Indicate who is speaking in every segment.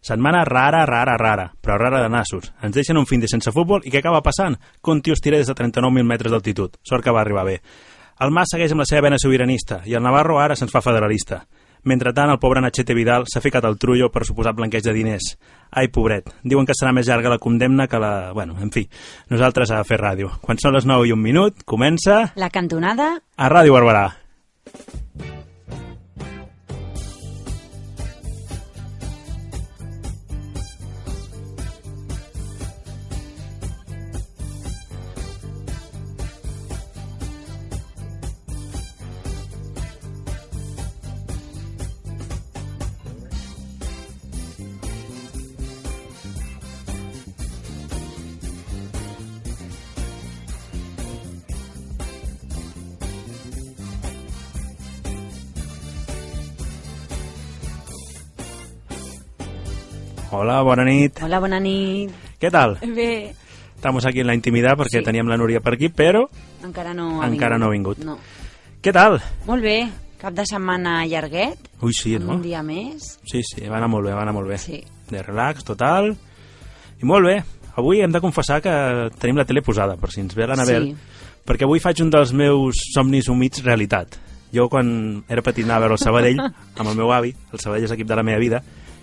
Speaker 1: Setmana rara, rara, rara, però rara de nassos. Ens deixen un fin de sense futbol i què acaba passant? Que un tio es tira des de 39.000 metres d'altitud. Sort que va arribar bé. El Mas segueix amb la seva vena sobiranista i el Navarro ara se'ns fa federalista. Mentretant, el pobre Nachete Vidal s'ha ficat al trullo per suposar blanqueig de diners. Ai, pobret, diuen que serà més llarga la condemna que la... Bueno, en fi, nosaltres a fer ràdio. Quan són les 9 i un minut, comença
Speaker 2: La cantonada
Speaker 1: a Ràdio Barberà. Hola, bona nit.
Speaker 2: Hola, bona nit.
Speaker 1: Què tal?
Speaker 2: Bé.
Speaker 1: Estamos aquí en la intimidad perquè
Speaker 2: Sí.
Speaker 1: teníem la Núria per aquí, però
Speaker 2: Encara no ha
Speaker 1: Encara
Speaker 2: vingut.
Speaker 1: no ha vingut.
Speaker 2: No.
Speaker 1: què tal?
Speaker 2: Molt bé. Cap de setmana llarguet.
Speaker 1: Ui, sí,
Speaker 2: amb
Speaker 1: no?
Speaker 2: Un dia més.
Speaker 1: Sí, sí, va anar molt bé, va anar molt bé.
Speaker 2: Sí.
Speaker 1: De relax, total. I molt bé. Avui hem de confessar que tenim la tele posada, per si ens ve l'Anabel.
Speaker 2: Sí.
Speaker 1: Perquè avui faig un dels meus somnis humits realitat. Jo, quan era petit, anava a veure el Sabadell amb el meu avi. El Sabadell és l'equip de la meva vida.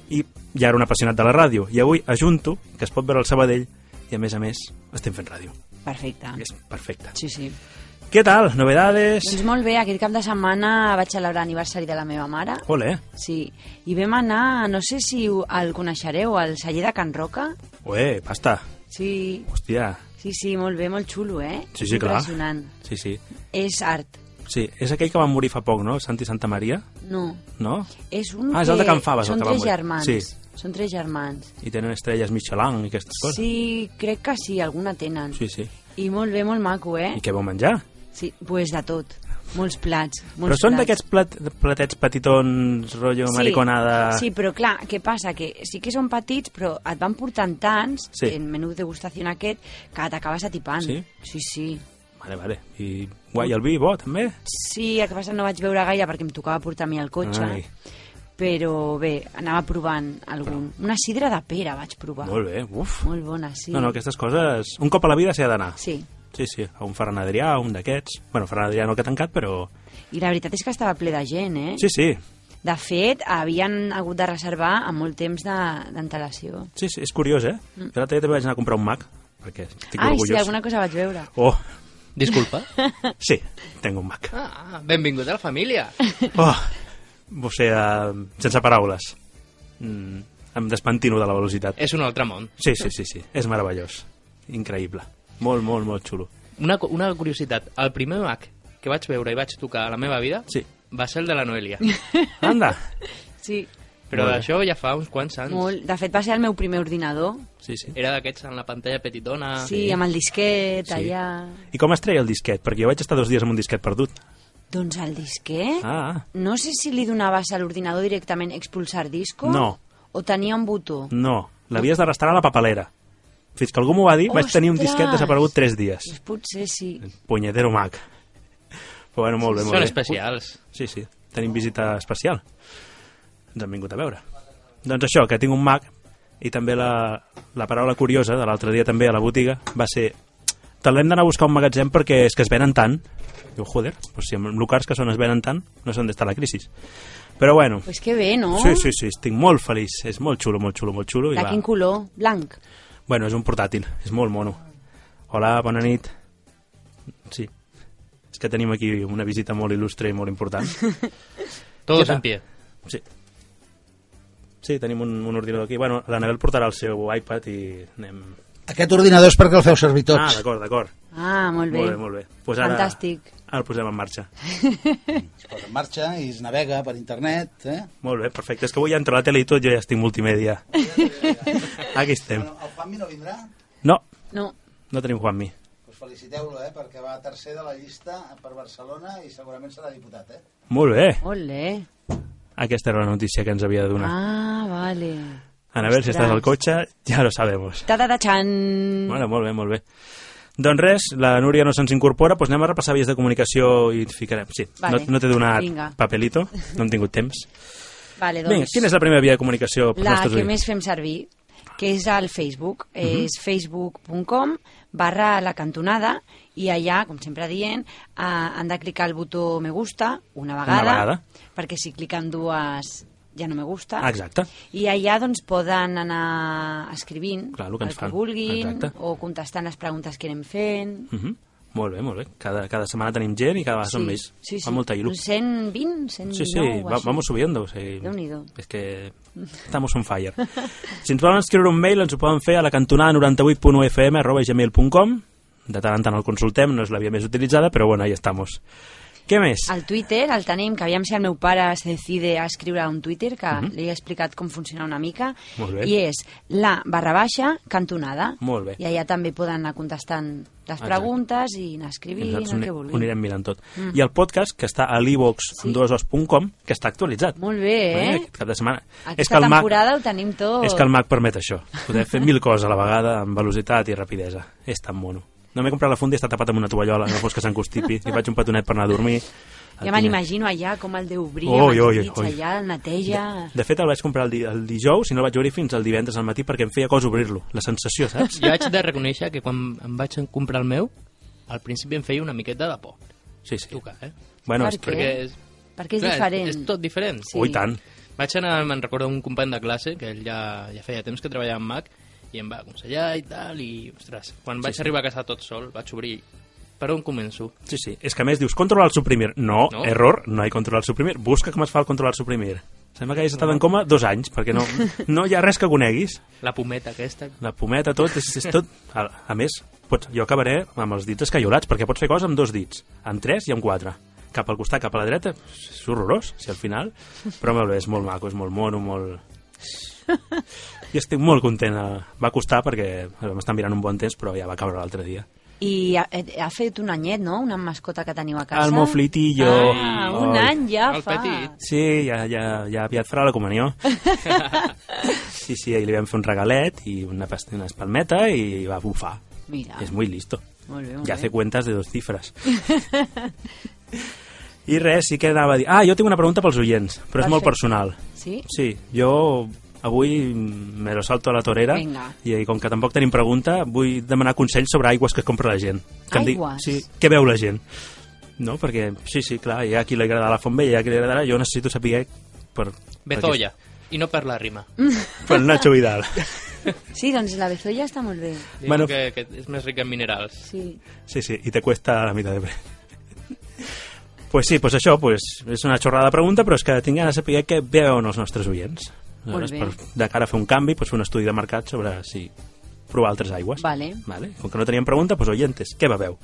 Speaker 1: I ja era un apassionat de la ràdio. I avui ajunto que es pot veure el Sabadell i, a més a més, estem fent ràdio.
Speaker 2: Perfecte.
Speaker 1: És perfecte.
Speaker 2: Sí, sí.
Speaker 1: Què tal? Novedades?
Speaker 2: Doncs molt bé, aquest cap de setmana vaig celebrar l'aniversari de la meva mare.
Speaker 1: Ole,
Speaker 2: Sí, i vam anar, no sé si ho- el coneixereu, al celler de Can Roca.
Speaker 1: ué, pasta.
Speaker 2: Sí,
Speaker 1: Hòstia.
Speaker 2: sí, sí, molt bé, molt xulo, eh?
Speaker 1: Sí, sí, clar.
Speaker 2: Impressionant.
Speaker 1: Sí, sí.
Speaker 2: És art.
Speaker 1: Sí, és aquell que va morir fa poc, no? Santi Santa Maria,
Speaker 2: No,
Speaker 1: no?
Speaker 2: és un
Speaker 1: Ah, és el de
Speaker 2: que-
Speaker 1: Can Faves, el
Speaker 2: Són
Speaker 1: que va
Speaker 2: tres
Speaker 1: morir.
Speaker 2: germans.
Speaker 1: Sí.
Speaker 2: Són tres germans.
Speaker 1: I tenen estrelles Michelin i aquestes coses.
Speaker 2: Sí, crec que sí, alguna tenen.
Speaker 1: Sí, sí.
Speaker 2: I molt bé, molt maco, eh?
Speaker 1: I què vau menjar?
Speaker 2: Sí, pues de tot. Molts plats. Molts
Speaker 1: Però són
Speaker 2: plats.
Speaker 1: d'aquests plat, platets petitons, rotllo mariconada...
Speaker 2: Sí, però clar, què passa? Que sí que són petits, però et van portant tants,
Speaker 1: Sí.
Speaker 2: en menú degustació aquest, que t'acabes atipant.
Speaker 1: Sí?
Speaker 2: Sí, sí.
Speaker 1: Vale, vale. I guai, el vi bo, també?
Speaker 2: Sí, el que passa no vaig veure gaire perquè em tocava portar a mi el cotxe.
Speaker 1: Ai.
Speaker 2: Però bé, anava provant algun. Una sidra de pera vaig provar.
Speaker 1: Molt bé, uf.
Speaker 2: Molt bona, sí.
Speaker 1: No, no, aquestes coses... Un cop a la vida s'hi ha d'anar.
Speaker 2: Sí.
Speaker 1: Sí, sí, a un Ferran Adrià, un d'aquests... Bueno, Ferran Adrià no que ha tancat, però...
Speaker 2: I la veritat és que estava ple de gent, eh?
Speaker 1: Sí, sí,
Speaker 2: De fet, havien hagut de reservar amb molt temps de- d'antelació.
Speaker 1: sí, sí és curiós, eh? Mm. Jo l'altre dia també vaig anar a comprar un Mac, perquè estic
Speaker 2: Ai,
Speaker 1: orgullós.
Speaker 2: sí, alguna cosa vaig veure.
Speaker 1: Oh,
Speaker 3: Disculpa.
Speaker 1: sí, tengo un Mac.
Speaker 3: Ah, benvingut a la família.
Speaker 1: Oh, o sigui, eh, sense paraules. Mm, em despentino de la velocitat.
Speaker 3: És un altre món.
Speaker 1: Sí, sí, sí, sí. És meravellós. Increïble. Molt, molt, molt xulo.
Speaker 3: Una, cu- una curiositat. El primer Mac que vaig veure i vaig tocar a la meva vida
Speaker 1: Sí.
Speaker 3: va ser el de la Noelia.
Speaker 1: Anda!
Speaker 2: Sí,
Speaker 3: Però
Speaker 1: Molt bé.
Speaker 3: això ja fa uns quants anys.
Speaker 2: molt. De fet, va ser el meu primer ordinador.
Speaker 1: Sí, sí.
Speaker 3: Era d'aquests amb la pantalla petitona.
Speaker 2: Sí, amb el disquet,
Speaker 1: Ah. Sí.
Speaker 2: allà...
Speaker 1: I com es treia el disquet? Perquè jo vaig estar dos dies amb un disquet perdut.
Speaker 2: Doncs el disquet...
Speaker 1: Ah,
Speaker 2: No sé si li donaves a l'ordinador directament expulsar disco...
Speaker 1: No.
Speaker 2: O tenia un botó.
Speaker 1: no. L'havies de restar a la papelera. Fins que algú m'ho va dir, vaig tenir un disquet
Speaker 2: Ostres!
Speaker 1: desaparegut tres dies.
Speaker 2: Doncs potser sí.
Speaker 1: Punyetero Mac. Però bueno, molt bé, molt
Speaker 3: Són
Speaker 1: bé.
Speaker 3: especials.
Speaker 1: Sí, sí, tenim visita especial. Ens han vingut a veure. Doncs això, que tinc un Mac i també la, la paraula curiosa de l'altre dia també a la botiga va ser te l'hem d'anar a buscar a un magatzem perquè és que es venen tant. Diu, joder, pues si amb locals que són es venen tant, no sé on està la crisi. Però bueno,
Speaker 2: Pues que bé, no?
Speaker 1: sí, sí, sí, estic molt feliç. És molt xulo, molt xulo, molt xulo. I
Speaker 2: De
Speaker 1: va.
Speaker 2: quin color? Blanc.
Speaker 1: Bueno, és un portàtil, és molt mono. Hola, bona nit. Sí, és que tenim aquí una visita molt il·lustre i molt important. Què
Speaker 3: Todos
Speaker 1: tal?
Speaker 3: en pie.
Speaker 1: Sí. Sí, tenim un, un ordinador aquí. Bueno, l'Anabel portarà el seu iPad i anem...
Speaker 4: Aquest ordinador és perquè el feu servir
Speaker 1: Ah,
Speaker 4: tots.
Speaker 1: d'acord, d'acord.
Speaker 2: Ah, molt bé.
Speaker 1: Molt bé, molt bé. Pues ara,
Speaker 2: Fantàstic.
Speaker 1: Ara el posem en marxa.
Speaker 4: Ah, es posa en marxa i es navega per internet. Eh?
Speaker 1: Molt bé, perfecte. És que avui ja entro a la tele i tot, jo ja estic multimèdia. aquí estem.
Speaker 4: Bueno, el Juanmi no vindrà?
Speaker 1: No,
Speaker 2: No,
Speaker 1: no tenim Juanmi.
Speaker 4: Pues Feliciteu-lo, eh? perquè va tercer de la llista per Barcelona i segurament serà diputat. Eh?
Speaker 1: Molt bé.
Speaker 2: olé.
Speaker 1: Aquesta era la notícia que ens havia de donar.
Speaker 2: Ah, vale.
Speaker 1: Ah, Anabel, si
Speaker 2: ostres. Mm.
Speaker 1: estàs al cotxe, ja lo sabemos.
Speaker 2: Ta-ta-ta-chan!
Speaker 1: Bueno, molt bé, molt bé. Doncs res, la Núria no se'ns incorpora, doncs anem a repassar vies de comunicació i et ficarem. Sí,
Speaker 2: Vale.
Speaker 1: no, no t'he donat
Speaker 2: Vinga.
Speaker 1: papelito, no hem tingut temps.
Speaker 2: Vale, doncs,
Speaker 1: Vinga, quina és la primera via de comunicació pels
Speaker 2: la
Speaker 1: nostres
Speaker 2: que
Speaker 1: oients? Mhm.
Speaker 2: més fem servir, que és al Facebook. És facebook.com barra la cantonada i allà, com sempre dient, eh, han de clicar el botó me gusta una vegada,
Speaker 1: vegada.
Speaker 2: perquè si cliquen dues ja no me gusta.
Speaker 1: Ah, Exacte.
Speaker 2: I allà doncs, poden anar escrivint
Speaker 1: Clar, el que ens fan.
Speaker 2: vulguin
Speaker 1: Exacte.
Speaker 2: o contestant les preguntes que anem fent.
Speaker 1: Mhm. Molt bé, molt bé. Cada, cada setmana tenim gent i cada vegada són més.
Speaker 2: Sí, sí.
Speaker 1: Fa molta il·lu.
Speaker 2: Uns 120, 119...
Speaker 1: Sí, sí,
Speaker 2: o
Speaker 1: va,
Speaker 2: així. Doncs-
Speaker 1: vamos subiendo. O sigui,
Speaker 2: Déu-n'hi-do.
Speaker 1: és que estamos on fire. si ens volen escriure un mail, ens ho poden fer a la cantonada 98.fm arroba gmail.com. De tant en tant el consultem, no és la via més utilitzada, però bueno, ahí estamos. Què més?
Speaker 2: Al Twitter el tenim, que aviam si el meu pare se decide a escriure un Twitter, que li he explicat com funciona una mica,
Speaker 1: Mhm. Molt bé.
Speaker 2: i és la barra baixa cantonada.
Speaker 1: Molt bé.
Speaker 2: I allà també poden anar contestant les
Speaker 1: Exacte.
Speaker 2: preguntes i anar
Speaker 1: I
Speaker 2: escrivint
Speaker 1: nosaltres
Speaker 2: el que Mm.
Speaker 1: ho ani-
Speaker 2: vulguin.
Speaker 1: ho anirem mirant tot. I el podcast, que està a l'ebox2.com, que està actualitzat.
Speaker 2: Molt bé, eh?
Speaker 1: Aquest cap de setmana. És que
Speaker 2: Aquesta
Speaker 1: el Mac-
Speaker 2: temporada ho tenim tot.
Speaker 1: És que el Mac permet això, poder fer mil coses a la vegada amb velocitat i rapidesa. És tan mono. No m'he comprat la funda i està tapat amb una tovallola, no fos que s'encostipi. Li faig un petonet per anar a dormir. El
Speaker 2: Ja me
Speaker 1: tinc-
Speaker 2: l'imagino allà, com el deu obrir,
Speaker 1: Oi,
Speaker 2: amb els
Speaker 1: oi,
Speaker 2: dits
Speaker 1: oi.
Speaker 2: allà, el neteja...
Speaker 1: De fet, el vaig comprar el, di el dijous i no el vaig obrir fins el divendres al matí perquè em feia cosa obrir-lo. La sensació, saps?
Speaker 3: Jo haig de reconèixer que quan em vaig comprar el meu, al principi em feia una miqueta de por.
Speaker 1: Sí, sí.
Speaker 3: Toca, eh?
Speaker 1: Bueno,
Speaker 2: Per
Speaker 1: és
Speaker 2: què?
Speaker 1: que...
Speaker 3: Perquè és,
Speaker 2: Perquè és
Speaker 3: clar,
Speaker 2: diferent.
Speaker 3: És, és tot diferent.
Speaker 2: Sí.
Speaker 1: Ui, tant.
Speaker 3: Vaig anar, me'n recordo, un company de classe, que ell ja, ja feia temps que treballava en Mac, i em va aconsellar i tal, i, ostres, quan vaig arribar a casa tot sol, vaig obrir, per on començo?
Speaker 1: Sí, sí. És que a més dius, controlar el suprimir. No,
Speaker 3: No.
Speaker 1: error, no hi controlar el suprimir. Busca com es fa el controlar el suprimir. Sembla que hagis estat en coma dos anys, perquè no, no hi ha res que coneguis.
Speaker 3: La pometa aquesta...
Speaker 1: La pometa, tot, és, és tot... A, a més, pots, jo acabaré amb els dits escaiolats, perquè pots fer coses amb dos dits, amb tres i amb quatre. Cap al costat, cap a la dreta, és horrorós, si al final... Però molt bé, és molt maco, és molt mono, molt... Jo estic molt content. eh, Va costar perquè vam estar mirant un bon temps, però ja va caure l'altre dia.
Speaker 2: I ha, eh, ha fet un anyet, no?, una mascota que teniu a casa.
Speaker 1: El moflitillo.
Speaker 2: Ah, un
Speaker 1: Oi.
Speaker 2: any ja
Speaker 3: El
Speaker 2: fa.
Speaker 3: petit.
Speaker 1: Sí, ja, ja, ja aviat farà la comunió. Sí, sí, ahir li vam fer un regalet i una, past- una espalmeta i va bufar.
Speaker 2: Mira,
Speaker 1: És muy listo.
Speaker 2: molt bé, molt
Speaker 1: Ya hace
Speaker 2: bé.
Speaker 1: cuentas de dos cifras. I res, sí que anava a dir... Ah, jo tinc una pregunta pels oients, però és molt
Speaker 2: Perfecte.
Speaker 1: personal.
Speaker 2: Sí?
Speaker 1: Sí, jo avui me lo salto a la torera
Speaker 2: Vinga.
Speaker 1: i com que tampoc tenim pregunta, vull demanar consells sobre aigües que es compra la gent. Que em digui-
Speaker 2: Aigües?
Speaker 1: sí, què veu la gent? No, perquè sí, sí, clar, hi ha qui li agrada la font vella, hi ha qui li agradarà, jo necessito saber per...
Speaker 3: Betolla, i no per la rima.
Speaker 1: Per, per Nacho Vidal.
Speaker 2: Sí, doncs la bezolla està molt bé.
Speaker 3: Diu
Speaker 1: Bueno.
Speaker 3: que, que és més rica en minerals.
Speaker 2: Sí.
Speaker 1: Sí, sí, y te cuesta la mitad de precio. Pues sí, pues això pues, és una xorrada de pregunta, però és que tinc ganes de saber què veuen els nostres oients.
Speaker 2: Molt bé.
Speaker 1: per, de cara a fer un canvi, pues, fer un estudi de mercat sobre si provar altres aigües.
Speaker 2: Vale.
Speaker 1: vale. Com que no teníem pregunta, pues, oientes, què beveu?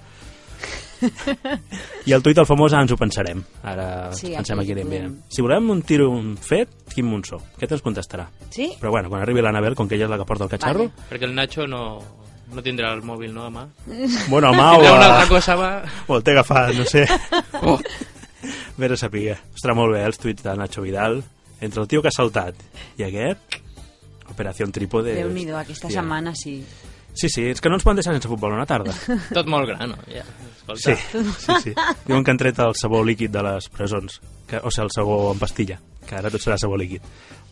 Speaker 1: I el tuit del famós ara ens ho pensarem. Ara
Speaker 2: Sí,
Speaker 1: pensem
Speaker 2: aquí
Speaker 1: aquí podem...
Speaker 2: podem.
Speaker 1: Si volem un tiro un fet, Quim Monsó. Aquest ens contestarà.
Speaker 2: Sí?
Speaker 1: Però bueno, quan arribi l'Anabel, com que ella és la que porta el catxarro...
Speaker 2: Vale.
Speaker 3: Perquè el Nacho no, no tindrà el mòbil, no, demà?
Speaker 1: Bueno, home, o...
Speaker 3: Tindrà una
Speaker 1: a-
Speaker 3: altra cosa, va...
Speaker 1: O el té agafat, no sé.
Speaker 3: Oh.
Speaker 1: Vés a saber. Ostres, molt bé, els tuits de Nacho Vidal. Entre el tio que ha saltat i aquest... Operació trípode...
Speaker 2: Déu-n'hi-do, aquesta
Speaker 1: hòstia.
Speaker 2: setmana sí.
Speaker 1: Sí, sí, és que no ens poden deixar sense futbol una tarda.
Speaker 3: Tot molt gran, no? Ja,
Speaker 1: Sí,
Speaker 3: escolta.
Speaker 1: sí, sí. Diuen que han tret el sabó líquid de les presons. Que, o sigui, el sabó en pastilla. Que ara tot serà sabó líquid.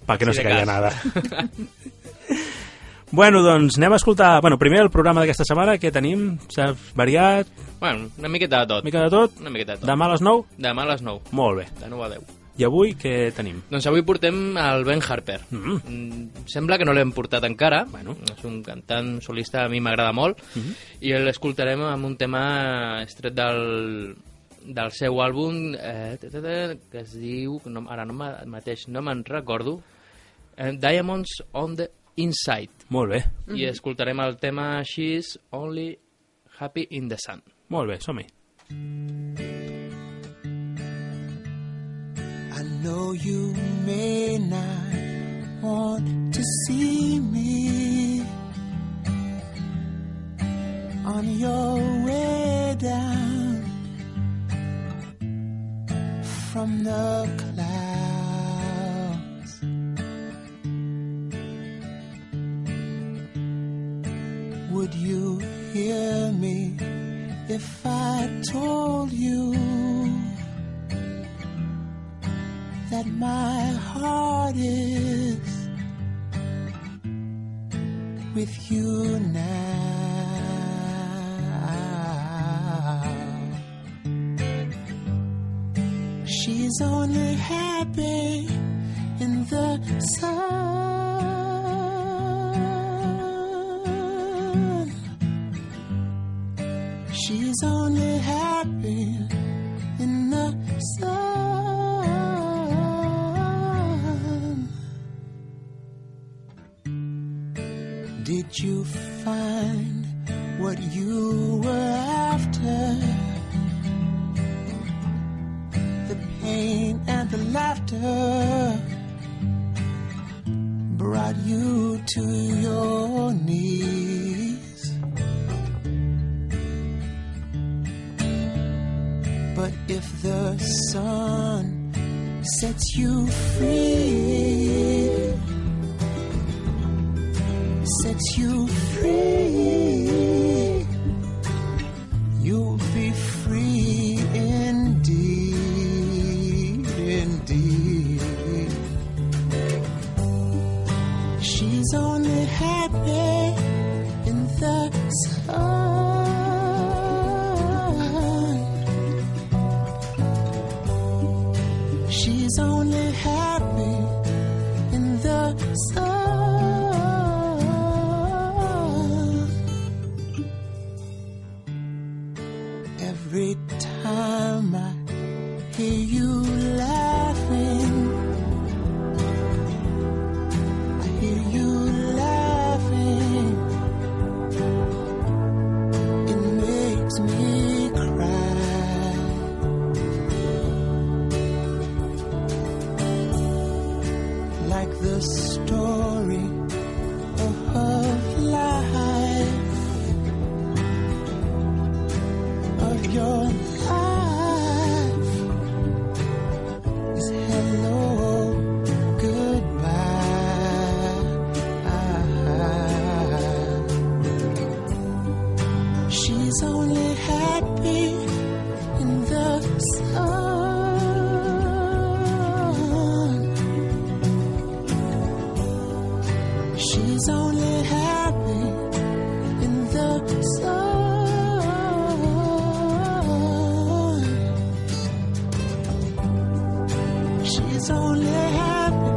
Speaker 1: Pa que no
Speaker 3: Sí,
Speaker 1: sí, se
Speaker 3: de
Speaker 1: caia
Speaker 3: cas.
Speaker 1: nada. bueno, doncs anem a escoltar... Bueno, primer el programa d'aquesta setmana, que tenim? Saps? Variat,
Speaker 3: Bueno, una miqueta de tot.
Speaker 1: mica de tot.
Speaker 3: Una miqueta de tot.
Speaker 1: Demà a les 9?
Speaker 3: Demà a les 9.
Speaker 1: Molt bé.
Speaker 3: De 9 a 10.
Speaker 1: I avui què tenim?
Speaker 3: Doncs avui portem el Ben Harper.
Speaker 1: Mm.
Speaker 3: Mm. Sembla que no l'hem portat encara.
Speaker 1: Bueno.
Speaker 3: És un cantant un solista, a mi m'agrada molt.
Speaker 1: Mhm.
Speaker 3: I l'escoltarem amb un tema estret del, del seu àlbum eh, ta, ta, ta, que es diu, no, ara no me- mateix no me'n recordo, eh, Diamonds on the Inside.
Speaker 1: Molt bé,
Speaker 3: I escoltarem el tema She's Only Happy in the Sun.
Speaker 1: molt bé, som-hi.
Speaker 5: I know you may not want to see me on your way down from the clouds. Would you hear me if I told you? that that my heart is with you now. She's only happy in the sun. She's only happy in the sun. Did you find what you were after? The pain and the laughter brought you to your knees. But if the sun sets you free, sets you free, you'll be free indeed, indeed. She's only happy in the sun. She's only happy in the sun. Every time I hear you laughing, I hear you laughing. It makes me cry. like the story of her life, of your life. Is hello, goodbye. She's only happy in the sun. She's only happy in the sun. She's only happy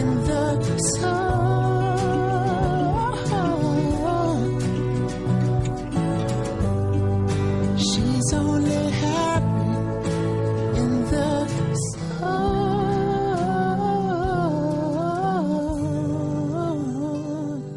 Speaker 5: in the sun. She's only happy in the sun.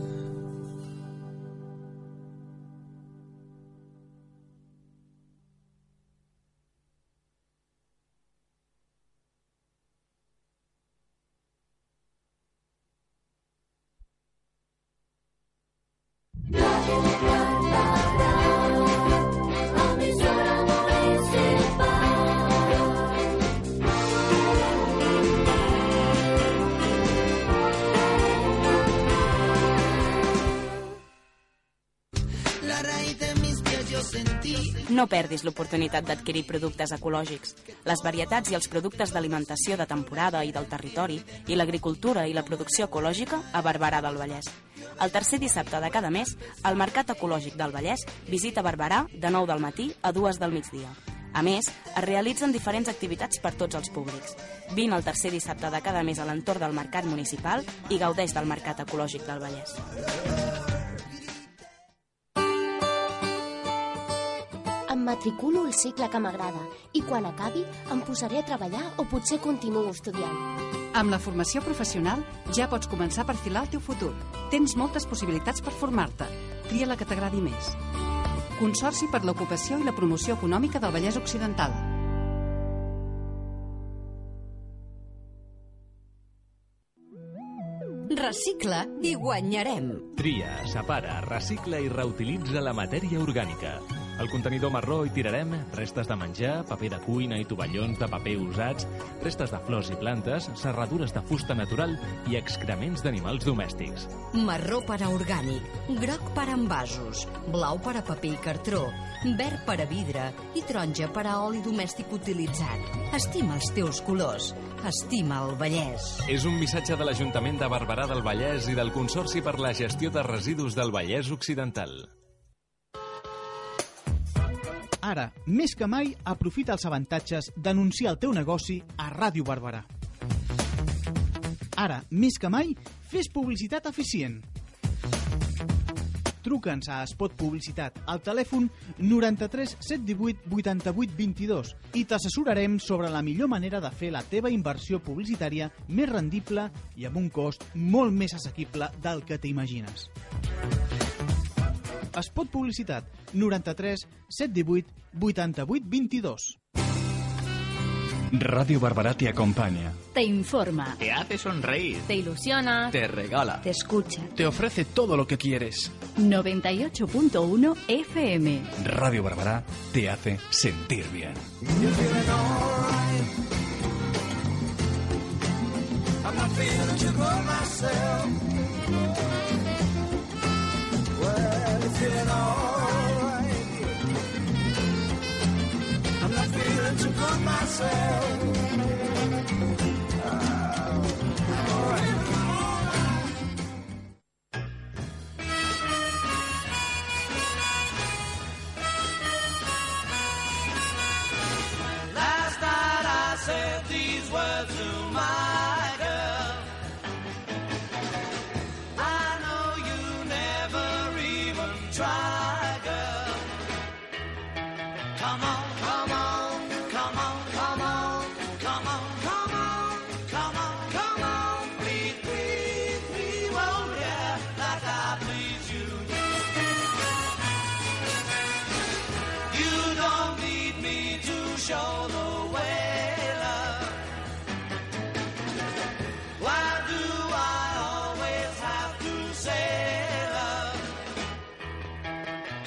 Speaker 6: No perdis l'oportunitat d'adquirir productes ecològics. Les varietats i els productes d'alimentació de temporada i del territori i l'agricultura i la producció ecològica a Barberà del Vallès. El tercer dissabte de cada mes, el Mercat Ecològic del Vallès visita Barberà de 9 del matí a 2 del migdia. A més, es realitzen diferents activitats per tots els públics. Vine el tercer dissabte de cada mes a l'entorn del Mercat Municipal i gaudeix del Mercat Ecològic del Vallès.
Speaker 7: Em matriculo al cicle que m'agrada i quan acabi em posaré a treballar o potser continuo estudiant.
Speaker 8: Amb la formació professional ja pots començar a perfilar el teu futur. Tens moltes possibilitats per formar-te. Tria la que t'agradi més. Consorci per l'ocupació i la promoció econòmica del Vallès Occidental.
Speaker 9: Recicla i guanyarem.
Speaker 10: Tria, separa, recicla i reutilitza la matèria orgànica.
Speaker 9: Al contenidor marró hi tirarem restes de menjar, paper de cuina i tovallons de paper usats, restes de flors i plantes, serradures de fusta natural i excrements d'animals domèstics.
Speaker 10: Marró per a orgànic, groc per a envasos, blau per a paper i cartró, verd per a vidre i taronja per a oli domèstic utilitzat. Estima els teus colors. Estima el Vallès.
Speaker 9: És un missatge de l'Ajuntament de Barberà del Vallès i del Consorci per la Gestió de Residus del Vallès Occidental.
Speaker 11: Ara, més que mai, aprofita els avantatges d'anunciar el teu negoci a Ràdio Barberà. Ara, més que mai, fes publicitat eficient. Truca'ns a Spot Publicitat al telèfon 93 718 88 22 i t'assessorarem sobre la millor manera de fer la teva inversió publicitària més rendible i amb un cost molt més assequible del que t'imagines. Spot Publicitat 93 718 88 22
Speaker 12: Radio Barbará te acompaña.
Speaker 13: Te informa,
Speaker 14: Te hace sonreír.
Speaker 13: te ilusiona,
Speaker 14: Te regala.
Speaker 13: te escucha.
Speaker 12: Te ofrece todo lo que quieres.
Speaker 13: 98.1 FM.
Speaker 12: Radio Barbará te hace sentir bien.
Speaker 5: I'm not feeling too good myself. Well, it's feeling alright. I'm not feeling too good myself. Ah, I'm alright. Last night I said these words to my girl. I know you never even try, girl. Come on, come on, come on, come on, come on, come on, come on, come on. Please, please, please, oh yeah, like I please you. You don't need me to show the way, love. Why do I always have to say, love?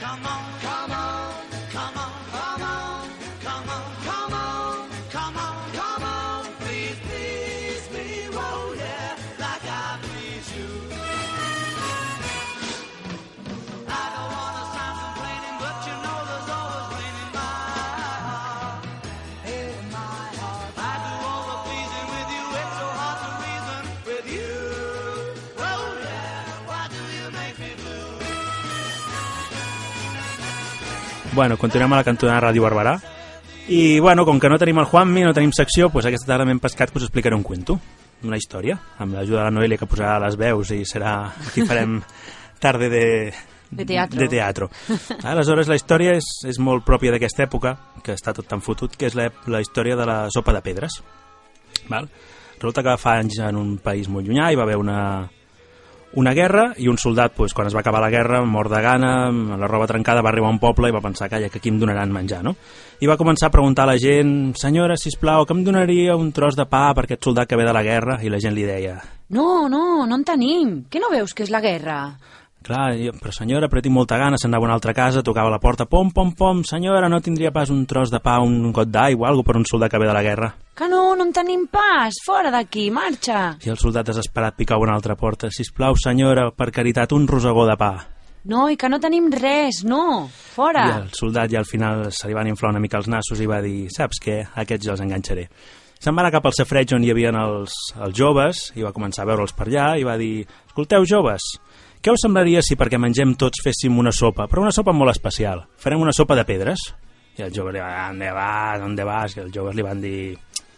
Speaker 5: Come on, come on, come on, come on, come on, come on, come on, come on. Please, please, please, oh yeah, like I please you. I don't wanna sound complaining, but you know there's always rain in my heart. In my heart. I do all the pleasing with you, it's so hard to reason with you. Oh yeah, why do you make me
Speaker 1: Bueno, continuem a la cantonada Ràdio Barberà. I, bueno, com que no tenim el Juanmi, no tenim secció, doncs aquesta tarda m'hem pescat que us explicaré un cuento, una història, amb l'ajuda de la Noelia que posarà les veus i serà... Aquí farem tarde de...
Speaker 2: De teatro.
Speaker 1: De teatro. Aleshores, la història és, és molt pròpia d'aquesta època, que està tot tan fotut, que és la, la història de la sopa de pedres. Val? Resulta que fa anys en un país molt llunyà hi va haver una, una guerra i un soldat, doncs, quan es va acabar la guerra, mort de gana, amb la roba trencada, va arribar a un poble i va pensar, calla, que aquí em donaran menjar, no? I va començar a preguntar a la gent, senyora, si plau, que em donaria un tros de pa per aquest soldat que ve de la guerra? I la gent li deia,
Speaker 2: No, no, no en tenim. Què no veus que és la guerra?
Speaker 1: clar, jo, però senyora, però tinc molta gana, se'n anava a una altra casa, tocava la porta, pom, pom, pom, senyora, no tindria pas un tros de pa, un got d'aigua, alguna per un soldat que ve de la guerra?
Speaker 2: Que no, no en tenim pas. Fora d'aquí, marxa.
Speaker 1: I el soldat desesperat picava una altra porta, si plau, senyora, per caritat, un rosegó de pa.
Speaker 2: No, i que no tenim res, no. Fora.
Speaker 1: I el soldat ja al final se li van inflar una mica els nassos i va dir, saps què, aquests ja els enganxaré. Se'n va anar cap al safreig on hi havia els, els joves i va començar a veure'ls per allà i va dir, escolteu joves, què us semblaria si perquè mengem tots féssim una sopa, però una sopa molt especial? Farem una sopa de pedres? I els joves li van dir, on vas, on vas? I els joves li van dir,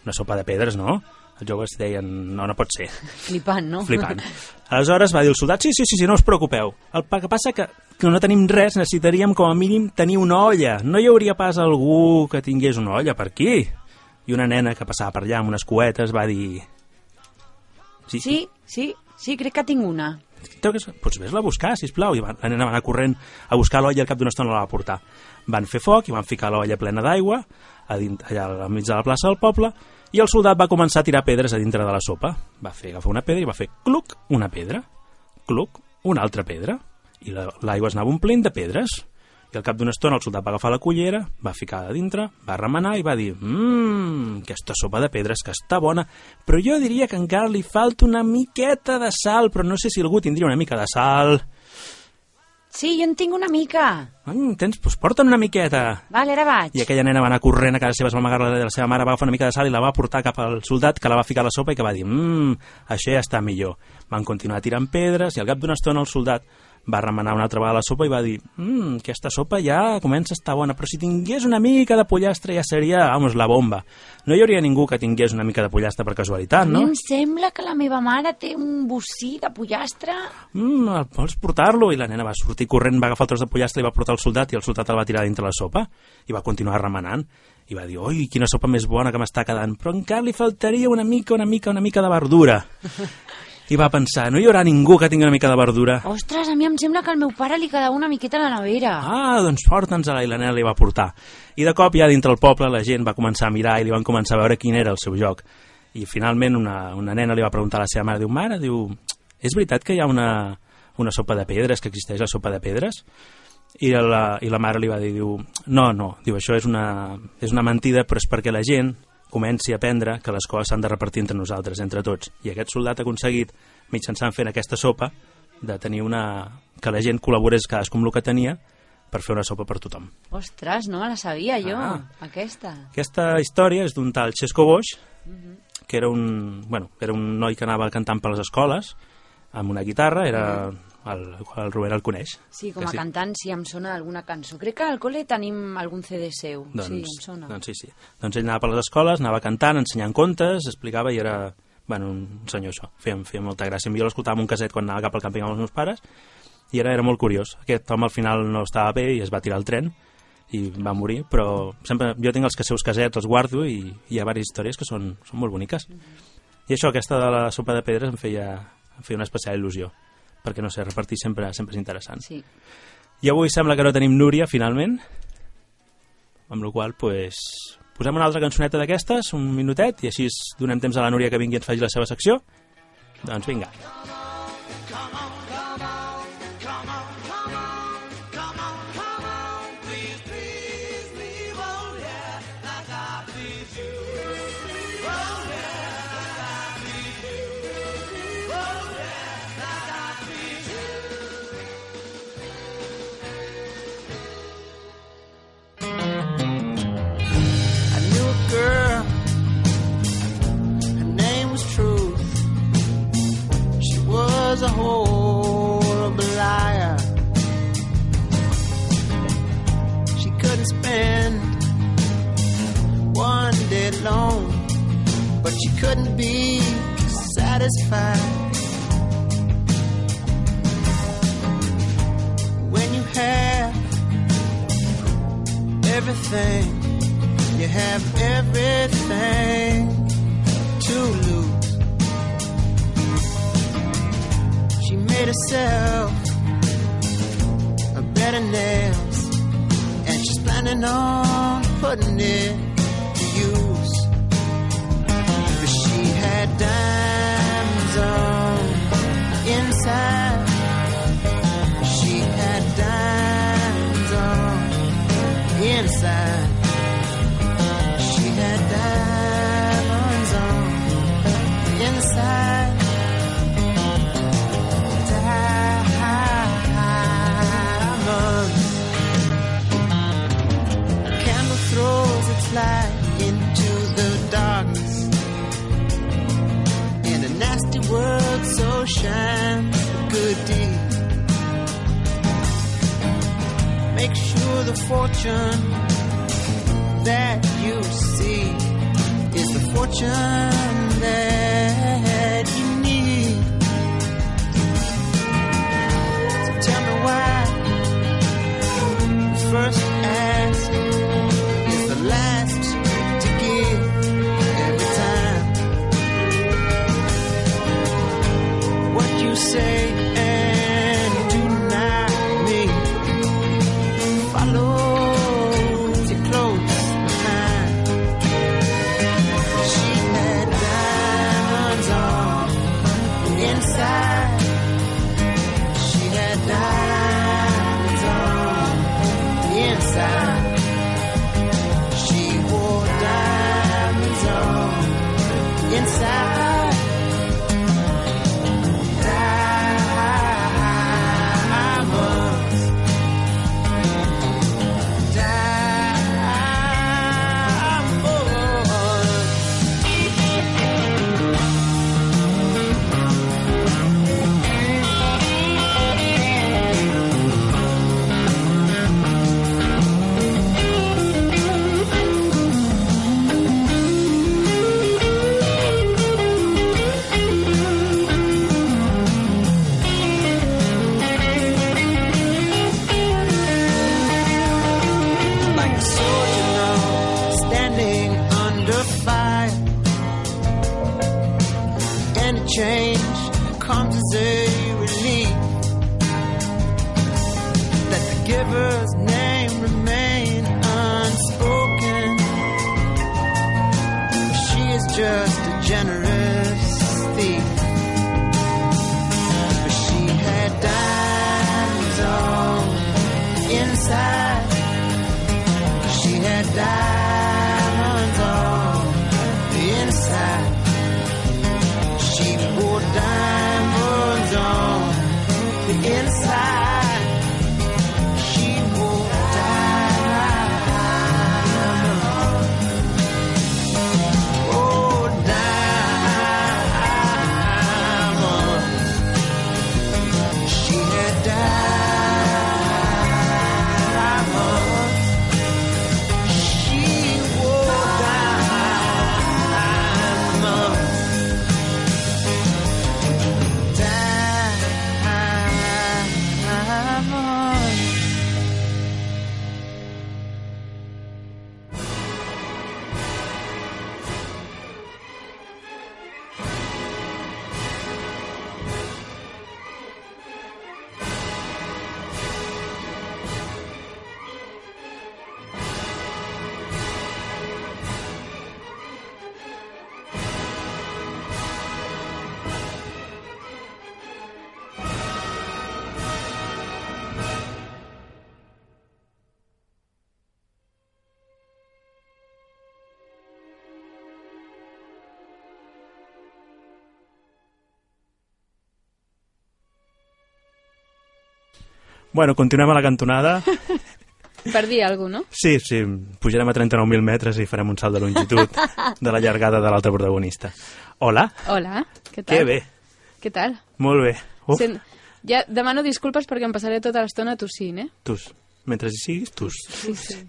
Speaker 1: una sopa de pedres, no? Els joves deien, no, no pot ser.
Speaker 2: Flipant, no?
Speaker 1: Flipant. Aleshores va dir el soldat, sí, sí, sí, sí no us preocupeu. El pa- que passa que, que no tenim res, necessitaríem com a mínim tenir una olla. No hi hauria pas algú que tingués una olla per aquí. I una nena que passava per allà amb unes coetes va dir...
Speaker 2: Sí, sí, sí, sí crec que tinc una.
Speaker 1: Creu que és- Doncs vés-la a buscar, sisplau. I van, la nena va anar corrent a buscar l'olla i al cap d'una estona la va portar. Van fer foc i van ficar l'olla plena d'aigua a dint, allà al mig de la plaça del poble i el soldat va començar a tirar pedres a dintre de la sopa. Va fer agafar una pedra i va fer cluc, una pedra, cluc, una altra pedra. I la- l'aigua es anava omplint de pedres. I al cap d'una estona el soldat va agafar la cullera, va ficar a dintre, va remenar i va dir «Mmm, aquesta sopa de pedres que està bona, però jo diria que encara li falta una miqueta de sal, però no sé si algú tindria una mica de sal».
Speaker 2: Sí, jo en tinc una mica.
Speaker 1: Mm, tens, doncs porta'n una miqueta.
Speaker 2: Vale, ara vaig.
Speaker 1: I aquella nena va anar corrent a casa seva, es va amagar la de la seva mare, va agafar una mica de sal i la va portar cap al soldat que la va ficar a la sopa i que va dir «Mmm, això ja està millor». Van continuar tirant pedres i al cap d'una estona el soldat va remenar una altra vegada la sopa i va dir «Mmm, aquesta sopa ja comença a estar bona, però si tingués una mica de pollastre ja seria, vamos, la bomba». No hi hauria ningú que tingués una mica de pollastre per casualitat,
Speaker 2: A mi
Speaker 1: no?
Speaker 2: em sembla que la meva mare té un bocí de pollastre.
Speaker 1: Mm, el vols portar-lo? I la nena va sortir corrent, va agafar el tros de pollastre i va portar al soldat i el soldat el va tirar dintre la sopa i va continuar remenant. I va dir, oi, quina sopa més bona que m'està quedant, però encara li faltaria una mica, una mica, una mica de verdura. I va pensar, no hi haurà ningú que tingui una mica de verdura.
Speaker 2: Ostres, a mi em sembla que al meu pare li quedava una miqueta a la nevera.
Speaker 1: Ah, doncs porta'ns-la, i la nena li va portar. I de cop ja dintre el poble la gent va començar a mirar i li van començar a veure quin era el seu joc. I finalment una, una nena li va preguntar a la seva mare, diu, mare, diu, és veritat que hi ha una, una sopa de pedres, que existeix la sopa de pedres? I la, I la mare li va dir, diu, no, no, diu, això és una, és una mentida, però és perquè la gent comenci a aprendre que les coses s'han de repartir entre nosaltres, entre tots. I aquest soldat ha aconseguit, mitjançant fent aquesta sopa, de tenir una... que la gent col·laborés cadascú amb el que tenia per fer una sopa per tothom.
Speaker 2: Ostres, no me la sabia jo,
Speaker 1: Ah.
Speaker 2: aquesta.
Speaker 1: Aquesta història és d'un tal Xesco Boix,
Speaker 2: Mhm.
Speaker 1: que era un, bueno, era un noi que anava cantant per les escoles amb una guitarra, era el, el Robert el coneix.
Speaker 2: Mhm. Sí, com
Speaker 1: Que
Speaker 2: a cantant, sí, em sona alguna cançó. Crec que al col·le tenim algun CD seu. sí, em sona.
Speaker 1: Doncs sí, sí. Doncs ell anava per les escoles, anava cantant, ensenyant contes, explicava i era bueno, un senyor això, feia, feia molta gràcia. Jo l'escoltava amb un caset quan anava cap al càmping amb els meus pares i era, era molt curiós. Aquest home al final no estava bé i es va tirar el tren i va morir, però sempre jo tinc els que seus casets, els guardo i, i hi ha diverses històries que són, són molt boniques. I això, aquesta de la sopa de pedres em feia, em feia una especial il·lusió, perquè no sé, repartir sempre, sempre és interessant.
Speaker 2: Sí.
Speaker 1: I avui sembla que no tenim Núria, finalment, amb la qual pues, posem una altra cançoneta d'aquestes, un minutet, i així donem temps a la Núria que vingui i ens faci la seva secció. Doncs vinga.
Speaker 5: Oh, Oh, Oh,
Speaker 15: I knew a girl, her name was Truth. She was a horrible liar. She couldn't spend one day alone, but she couldn't be satisfied. When you have everything. You have everything to lose. She made herself a bed of nails, and she's planning on putting it to use. But she had diamonds on the inside. She had diamonds on the inside. She had diamonds on the inside. Diamonds. A candle throws its light into the darkness. And a nasty word so shines a good deed. Make sure the fortune that you see is the fortune that you need. So tell me why the first ask is the last to give every time. What you say and do not mean follows you close behind. She had died.
Speaker 5: inside. She won't die. Oh, Diamond. She had diamonds. She wore diamonds. Diamonds.
Speaker 1: Bueno, continuem a la cantonada.
Speaker 14: Per dir alguna cosa,
Speaker 1: Sí, sí, pujarem a 39.000 metres i farem un salt de longitud de la llargada de l'altre protagonista. Hola,
Speaker 14: no? Hola, què tal?
Speaker 1: que bé,
Speaker 14: Què tal?
Speaker 1: molt bé. Uf,
Speaker 14: Sent- Ja demano disculpes perquè em passaré tota l'estona tossint, eh?
Speaker 1: tus, mentre hi siguis, tus,
Speaker 14: Sí, sí.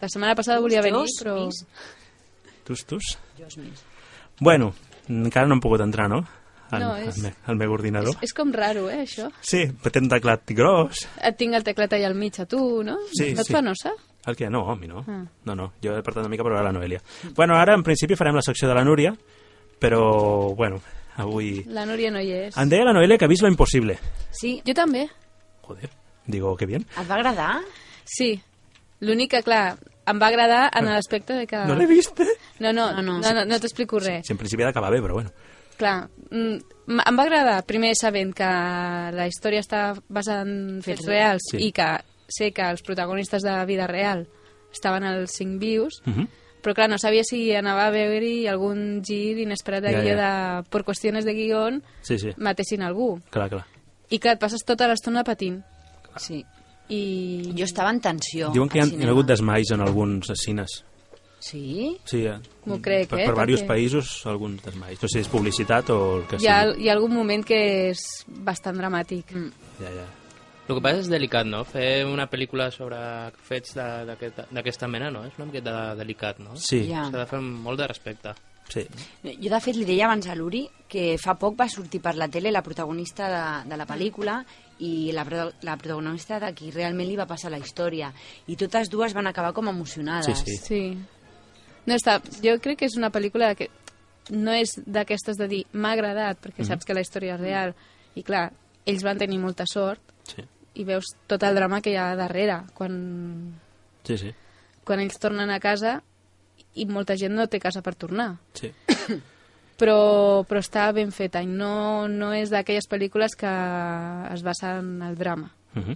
Speaker 14: La setmana passada volia venir,
Speaker 2: Tos,
Speaker 14: però...
Speaker 1: tus, tus.
Speaker 2: Dios mío.
Speaker 1: Bueno, encara no hem pogut entrar, no?
Speaker 14: No, és-
Speaker 1: al, me, al meu ordinador.
Speaker 14: És com raro, eh, això?
Speaker 1: Sí, però té un teclat gros.
Speaker 14: Et tinc el teclat allà al mig a tu, no?
Speaker 1: Sí,
Speaker 14: no et
Speaker 1: sí.
Speaker 14: fa nosa?
Speaker 1: El que? No, a mi no.
Speaker 14: Ah.
Speaker 1: No, no, jo he parlat una mica per veure la Noelia. Bueno, ara en principi farem la secció de la Núria, però, bueno, avui...
Speaker 14: La Núria no hi és.
Speaker 1: Em deia la Noelia que ha vist lo impossible.
Speaker 14: Sí. Jo també.
Speaker 1: Digo, que bien.
Speaker 14: Et va agradar? Sí. L'únic que, clar, em va agradar en l'aspecte de que...
Speaker 1: No l'he vist, eh?
Speaker 14: No, no, no, no, no, no t'explico res.
Speaker 1: Si en principi ha d'acabar bé, però bueno.
Speaker 14: Clar, mm, m- em va agradar, primer sabent que la història està basada en fets
Speaker 1: Fets
Speaker 14: reals
Speaker 1: reals. Sí.
Speaker 14: i que sé que els protagonistes de la vida real estaven als cinc vius,
Speaker 1: Mhm.
Speaker 14: però clar, no sabia si anava a veure-hi algun gir inesperat de
Speaker 1: Ja,
Speaker 14: ja, guió
Speaker 1: ja.
Speaker 14: de... per qüestions de guion
Speaker 1: Sí, sí,
Speaker 14: matessin algú.
Speaker 1: clar, clar.
Speaker 14: I clar, et passes tota l'estona patint.
Speaker 2: Sí.
Speaker 14: I...
Speaker 2: Jo estava en tensió.
Speaker 1: Diuen que hi ha,
Speaker 2: al
Speaker 1: hi ha
Speaker 2: cinema.
Speaker 1: hagut desmais en alguns cines.
Speaker 2: Sí?
Speaker 1: Sí, eh?
Speaker 14: M'ho crec,
Speaker 1: per,
Speaker 14: eh,
Speaker 1: Per diversos
Speaker 14: perquè-
Speaker 1: països, alguns desmais. No sé si és publicitat o el que
Speaker 14: Hi ha,
Speaker 1: sigui.
Speaker 14: hi ha algun moment que és bastant dramàtic. Mm.
Speaker 1: Ja, ja.
Speaker 3: El que passa és delicat, no? Fer una pel·lícula sobre fets de- d'aquesta d'aquesta mena, no? És una miqueta delicat, no?
Speaker 1: Sí.
Speaker 2: Ja.
Speaker 3: S'ha de fer amb molt de respecte.
Speaker 1: Sí.
Speaker 2: Jo, de fet, li deia abans a l'Uri que fa poc va sortir per la tele la protagonista de, de la pel·lícula i la, pro- la protagonista de qui realment li va passar la història. I totes dues van acabar com emocionades.
Speaker 14: sí. No, està, jo crec que és una pel·lícula que no és d'aquestes de dir m'ha agradat, perquè
Speaker 1: Mhm.
Speaker 14: saps que la història és real. I clar, ells van tenir molta sort
Speaker 1: Sí.
Speaker 14: i veus tot el drama que hi ha darrere quan,
Speaker 1: Sí, sí.
Speaker 14: quan ells tornen a casa i molta gent no té casa per tornar.
Speaker 1: Sí.
Speaker 14: Però, però està ben feta i no, no és d'aquelles pel·lícules que es basen en el drama.
Speaker 1: Mhm.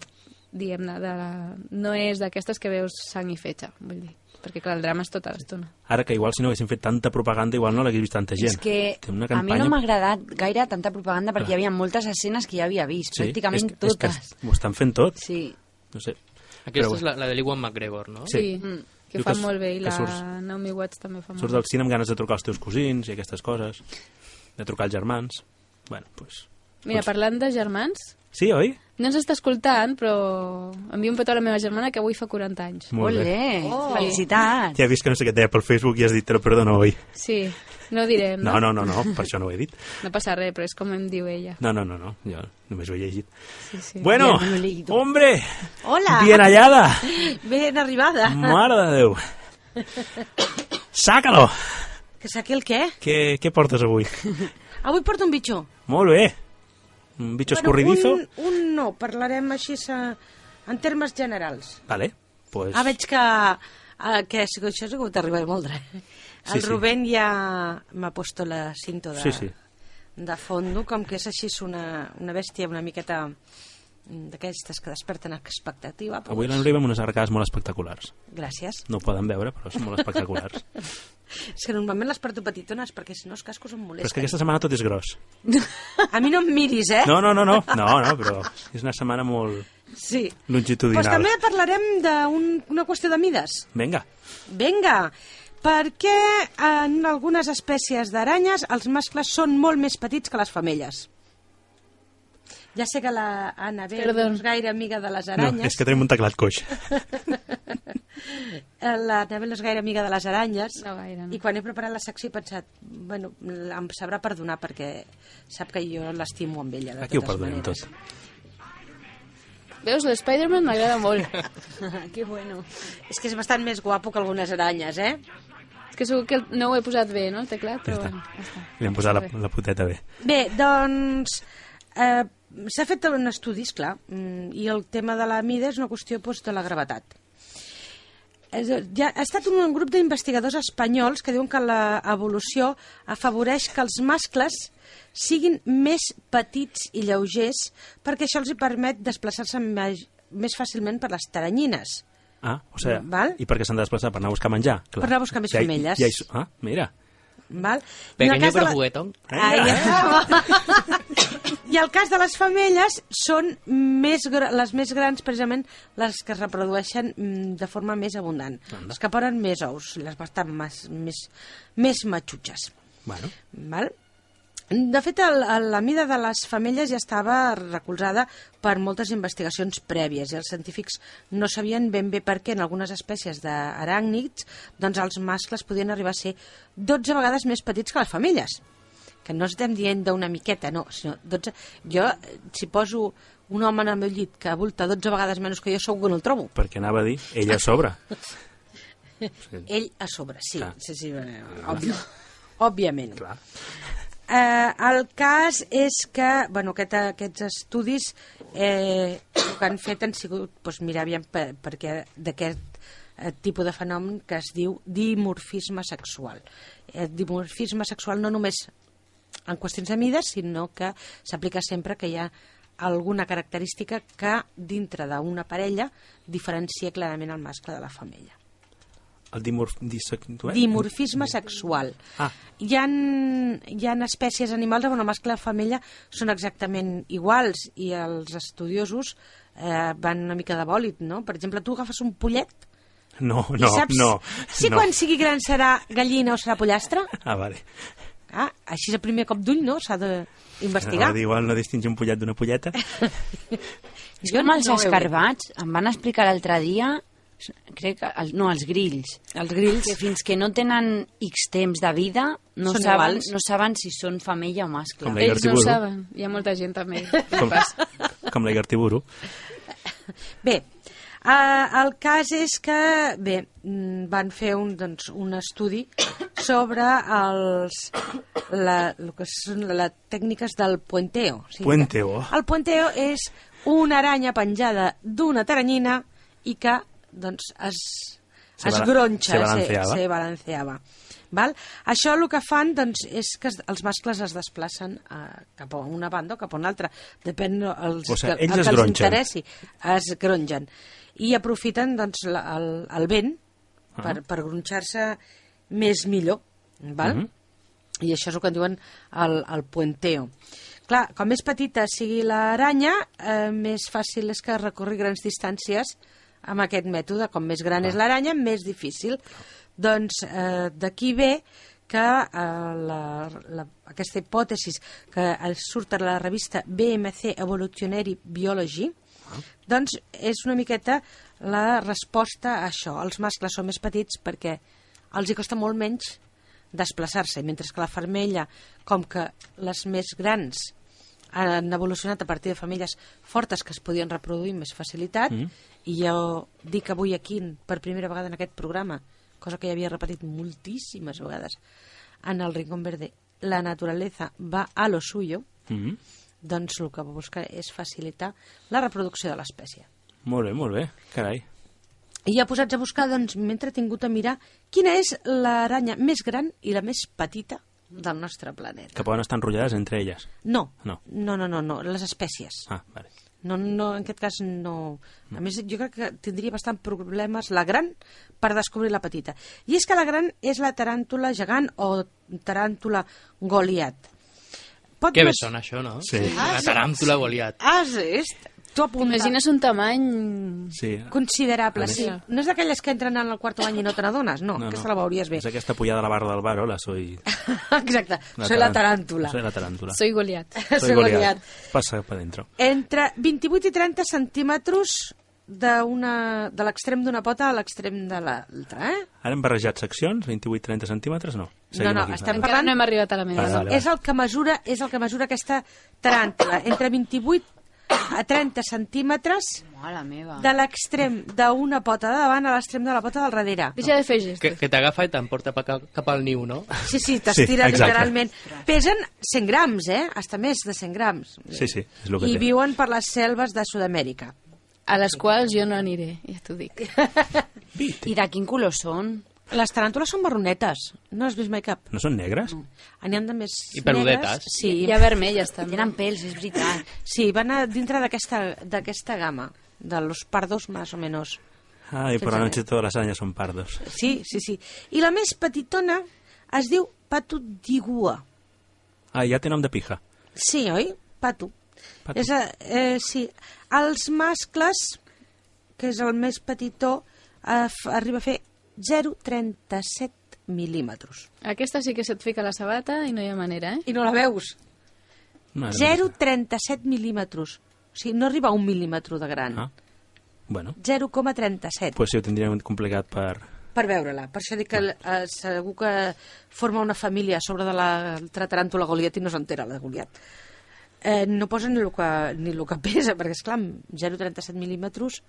Speaker 14: Diguem-ne, de la... no és d'aquestes que veus sang i fetge, vull dir. Perquè clar, el drama és tota l'estona.
Speaker 1: Ara que igual si no haguessin fet tanta propaganda igual no l'hagués vist tanta gent.
Speaker 2: És que
Speaker 1: Té una
Speaker 2: a mi
Speaker 1: campanya...
Speaker 2: no m'ha agradat gaire tanta propaganda perquè
Speaker 1: Clar.
Speaker 2: hi havia moltes escenes que ja havia vist,
Speaker 1: sí,
Speaker 2: pràcticament
Speaker 1: és, que-
Speaker 2: totes.
Speaker 1: És que ho estan fent tot.
Speaker 2: Sí.
Speaker 1: No sé.
Speaker 3: Aquesta
Speaker 1: Però
Speaker 3: és la, la de l'Iwan McGregor, no?
Speaker 1: Sí.
Speaker 14: Mm, que
Speaker 1: Diu
Speaker 14: fa
Speaker 1: que s-
Speaker 14: molt bé i
Speaker 1: que
Speaker 14: la
Speaker 1: surts-
Speaker 14: Naomi Watts també fa molt
Speaker 1: Surts
Speaker 14: bé.
Speaker 1: del cine amb ganes de trucar als teus cosins i aquestes coses, de trucar als germans... Bueno, pues...
Speaker 14: Mira, parlant de germans,
Speaker 1: Sí, oi?
Speaker 14: no ens està escoltant, però envio un petó a la meva germana que avui fa 40 anys.
Speaker 1: Molt bé.
Speaker 2: Oh.
Speaker 14: Felicitats!
Speaker 1: Ja he vist que no sé què et deia pel Facebook i has dit, te lo perdono hoy.
Speaker 14: Sí, no ho direm,
Speaker 1: No, no, no, no, per això no ho he dit.
Speaker 14: No passa res, però és com em diu ella.
Speaker 1: No, no, no, no, jo només ho he llegit.
Speaker 14: Sí, sí.
Speaker 1: Bueno,
Speaker 14: Ja no l'he
Speaker 1: hombre,
Speaker 2: Hola!
Speaker 1: bien hallada,
Speaker 2: Ben arribada!
Speaker 1: mare de Déu. Sácalo!
Speaker 16: Que saqui el què?
Speaker 1: Què, què portes avui?
Speaker 16: Avui porto un bitxó.
Speaker 1: Molt bé. Un bitxo escurridizo.
Speaker 16: Un, un no, parlarem així sa, en termes generals.
Speaker 1: Vale, pues...
Speaker 16: Ah, veig que, eh, que això, això ha sigut arribar molt d'hora. El
Speaker 1: Sí, sí.
Speaker 16: Rubén ja m'ha puesto la cinto de,
Speaker 1: Sí, sí.
Speaker 16: de fondo, com que és així és una, una bèstia una miqueta
Speaker 17: d'aquestes que desperten expectativa.
Speaker 1: Avui l'Enriba amb unes arcades molt espectaculars.
Speaker 17: Gràcies.
Speaker 1: No ho poden veure, però són molt espectaculars.
Speaker 17: És que normalment les porto petitones, perquè si no els cascos em
Speaker 1: però
Speaker 17: molesten.
Speaker 1: és que aquesta setmana tot és gros.
Speaker 17: A mi no em miris, eh?
Speaker 1: No, no, no, no, no, no però és una setmana molt
Speaker 17: Sí.
Speaker 1: longitudinal.
Speaker 17: Doncs també parlarem d'una qüestió de mides.
Speaker 1: Vinga,
Speaker 17: Vinga, perquè en algunes espècies d'aranyes els mascles són molt més petits que les femelles. Ja sé que la Anabel no
Speaker 14: Perdón.
Speaker 17: és doncs, gaire amiga de les
Speaker 1: no,
Speaker 17: aranyes.
Speaker 1: és que tenim un teclat coix.
Speaker 17: Eh, La Anabel no és gaire amiga de les aranyes. No gaire, no. I quan he preparat la secció he pensat, bueno, em sabrà perdonar perquè sap que jo l'estimo amb ella. De
Speaker 1: Aquí ho
Speaker 17: totes
Speaker 1: perdonem tot.
Speaker 14: Veus, l'Spider-Man m'agrada molt.
Speaker 17: que bueno. És que és bastant més guapo que algunes aranyes, eh?
Speaker 14: És que segur que no ho he posat bé, no, el teclat? Però, bueno, ja està.
Speaker 1: Li hem posat la, la puteta bé.
Speaker 17: Bé, doncs... Eh, S'ha fet un estudi, esclar, mm, i el tema de la mida és una qüestió doncs, de la gravetat. És a- Hi ha, ha estat un, grup d'investigadors espanyols que diuen que l'evolució afavoreix que els mascles siguin més petits i lleugers perquè això els hi permet desplaçar-se mai- més fàcilment per les teranyines.
Speaker 1: Ah, o sigui,
Speaker 17: Val.
Speaker 1: i per què s'han de desplaçar? Per anar a buscar menjar? Clar.
Speaker 17: Per anar a buscar més
Speaker 1: Ja hi-
Speaker 17: femelles.
Speaker 1: Ja, hi- ah, mira.
Speaker 17: Val? I en el
Speaker 1: Pequeño
Speaker 17: cas de
Speaker 1: però
Speaker 17: la-
Speaker 1: juguetón.
Speaker 17: Ai, I el cas de les femelles són més gr- les més grans, precisament, les que es reprodueixen mm, de forma més abundant.
Speaker 5: Anda.
Speaker 17: Les que ponen més ous, les bastant més, més, més matxutxes.
Speaker 1: Bueno.
Speaker 17: Val? De fet, el, el, la mida de les femelles ja estava recolzada per moltes investigacions prèvies i els científics no sabien ben bé per què en algunes espècies d'aràcnids doncs els mascles podien arribar a ser 12 vegades més petits que les femelles. Que no estem dient d'una miqueta, no, sinó 12... Jo, eh, si poso un home en el meu llit que volta 12 vegades menys que jo, segur que no el trobo.
Speaker 1: Perquè anava a dir, ella a sobre.
Speaker 17: Ell a sobre, sí.
Speaker 1: Clar.
Speaker 17: sí, sí eh, òbvio, òbviament. Eh, el cas és que bueno, aquest, aquests estudis eh, el que han fet han sigut doncs, mirar aviam per, perquè d'aquest eh, tipus de fenomen que es diu dimorfisme sexual. Eh, dimorfisme sexual no només en qüestions de mides, sinó que s'aplica sempre que hi ha alguna característica que dintre d'una parella diferencia clarament el mascle de la femella.
Speaker 1: El dimorf... Disec...
Speaker 17: Dimorfisme sexual.
Speaker 1: Ah.
Speaker 17: Hi ha, hi ha espècies animals on el mascle i la femella són exactament iguals i els estudiosos eh, van una mica de bòlit, no? Per exemple, tu agafes un pollet
Speaker 1: No,
Speaker 17: i
Speaker 1: no,
Speaker 17: saps
Speaker 1: no.
Speaker 17: si
Speaker 1: no.
Speaker 17: quan sigui gran serà gallina o serà pollastre.
Speaker 1: Ah, vale.
Speaker 17: Ah, així és el primer cop d'ull, no? S'ha d'investigar.
Speaker 1: Anava a dir, igual no distingir un pollet d'una polleta.
Speaker 2: És
Speaker 17: Jo
Speaker 2: com els
Speaker 17: no ho he
Speaker 2: escarbats, em van explicar l'altre dia, s- crec que, el, no, els grills.
Speaker 17: Els grills.
Speaker 2: Que fins que no tenen X temps de vida, no,
Speaker 14: Són
Speaker 2: saben,
Speaker 14: iguals.
Speaker 2: no saben si són femella o mascle.
Speaker 1: Com la
Speaker 14: Ells no ho
Speaker 1: Igartiburu.
Speaker 14: saben. Hi ha molta gent també.
Speaker 1: Com, com la Igartiburu.
Speaker 17: Bé, eh, el cas és que bé, mm, van fer un, doncs, un estudi sobre els, la, el que són les tècniques del puenteo. O
Speaker 1: Puenteo.
Speaker 17: que El puenteo és una aranya penjada d'una taranyina i que doncs, es,
Speaker 1: Se
Speaker 17: es
Speaker 1: bala-
Speaker 17: gronxa,
Speaker 1: se balanceava.
Speaker 17: Se, se balanceava. Val? Això el que fan doncs, és que es- els mascles es desplacen a, cap a una banda o cap a una altra, depèn els,
Speaker 1: O sigui,
Speaker 17: que-
Speaker 1: ells
Speaker 17: el
Speaker 1: es
Speaker 17: que els
Speaker 1: gronxen.
Speaker 17: interessi. Es grongen. I aprofiten doncs, la, el, el vent
Speaker 5: Ah.
Speaker 17: per, per gronxar-se més millor. Val?
Speaker 5: Mhm.
Speaker 17: I això és el que en diuen el, el puenteo. Clar, com més petita sigui l'aranya, eh, més fàcil és que recorri grans distàncies amb aquest mètode. Com més gran és l'aranya, més difícil. Doncs eh, d'aquí ve que eh, la, la, aquesta hipòtesi que es surt a la revista BMC Evolutionary Biology, doncs és una miqueta la resposta a això. Els mascles són més petits perquè els hi costa molt menys desplaçar-se, mentre que la femella, com que les més grans han evolucionat a partir de femelles fortes que es podien reproduir amb més facilitat,
Speaker 5: Mm.
Speaker 17: i jo dic avui aquí, per primera vegada en aquest programa, cosa que ja havia repetit moltíssimes vegades, en el Rincón Verde, la naturaleza va a lo suyo,
Speaker 1: Mm.
Speaker 17: doncs el que busca és facilitar la reproducció de l'espècie.
Speaker 1: Molt bé, molt bé. Carai.
Speaker 17: I ja posats a buscar, doncs m'he entretingut a mirar quina és l'aranya més gran i la més petita del nostre planeta.
Speaker 1: Que poden estar enrotllades entre elles.
Speaker 17: No,
Speaker 1: No.
Speaker 17: no, no, no, no les espècies.
Speaker 1: Ah, vale.
Speaker 17: No, no, en aquest cas no. A més, jo crec que tindria bastant problemes la gran per descobrir la petita. I és que la gran és la taràntula gegant o taràntula goliat. Pot
Speaker 3: Que bé
Speaker 17: no-
Speaker 3: sona això, no?
Speaker 1: Sí.
Speaker 3: Una taràntula goliat.
Speaker 17: Has vist? Ah, Tu apunta.
Speaker 14: T'imagines un tamany
Speaker 1: Sí.
Speaker 17: Considerable,
Speaker 1: A més-
Speaker 17: sí. No és d'aquelles que entren en el quarto any i no te n'adones, no, no, aquesta la veuries bé.
Speaker 1: És aquesta pujada a la barra del bar, hola, soy...
Speaker 17: Exacte, soy la taràntula.
Speaker 1: Soy la taràntula.
Speaker 17: Soy
Speaker 14: Goliat.
Speaker 17: Soy Goliat.
Speaker 1: Passa per dentro.
Speaker 17: Entre 28 i 30 centímetres d'una- de l'extrem d'una pota a l'extrem de l'altra, eh?
Speaker 1: Ara hem barrejat seccions, 28-30 centímetres, no?
Speaker 17: no, no, estem parlant...
Speaker 14: no hem arribat a la meva.
Speaker 1: Vale, vale, vale.
Speaker 17: És el que mesura, és el que mesura aquesta taràntula, entre 28 a 30 centímetres
Speaker 2: Mare meva.
Speaker 17: de l'extrem d'una pota de davant a l'extrem de la pota del darrere.
Speaker 14: Deixa de fer gestos.
Speaker 3: Que, que t'agafa i t'emporta pa- cap, cap al niu, no?
Speaker 17: Sí, sí, t'estira
Speaker 3: Sí,
Speaker 17: sí,
Speaker 3: exacte.
Speaker 17: literalment. Pesen 100 grams, eh? Hasta més de 100 grams.
Speaker 1: Sí, sí, és el que
Speaker 17: I
Speaker 1: té.
Speaker 17: viuen per les selves de Sud-amèrica.
Speaker 14: A les quals jo no aniré, ja t'ho dic.
Speaker 2: I de quin color són?
Speaker 17: Les taràntules són marronetes. No has vist mai cap. Ah,
Speaker 1: No són negres?
Speaker 17: N'hi han de més
Speaker 1: I peludetes.
Speaker 17: negres. Sí.
Speaker 14: I a vermelles, també.
Speaker 17: Tenen pèls, és veritat. Sí, van a dintre d'aquesta d'aquesta gamma, de los pardos més o menys.
Speaker 1: Ai, però
Speaker 17: Sense
Speaker 1: no
Speaker 17: més.
Speaker 1: sé totes les anyes són pardos.
Speaker 17: Sí, sí, sí. I la més petitona es diu patudigua.
Speaker 1: Ah, ja té nom de pija.
Speaker 17: Sí, oi? Patu.
Speaker 1: Patu.
Speaker 17: És, a- eh, sí. Els mascles, que és el més petitó, eh, f- arriba a fer 0,37 mil·límetres.
Speaker 14: Aquesta sí que se't fica la sabata i no hi ha manera, eh?
Speaker 17: I no la veus. 0,37 mil·límetres. O sigui, no arriba a un mil·límetre de gran.
Speaker 1: Ah. Bueno,
Speaker 17: 0,37
Speaker 1: pues sí, ho tindríem complicat per...
Speaker 17: per veure-la. Per això dic que eh, segur que forma una família a sobre de l'altra taràntula Goliat i no s'entera la de Goliat. Eh, no posa ni el que, ni el que pesa, perquè, esclar, amb 0,37 mil·límetres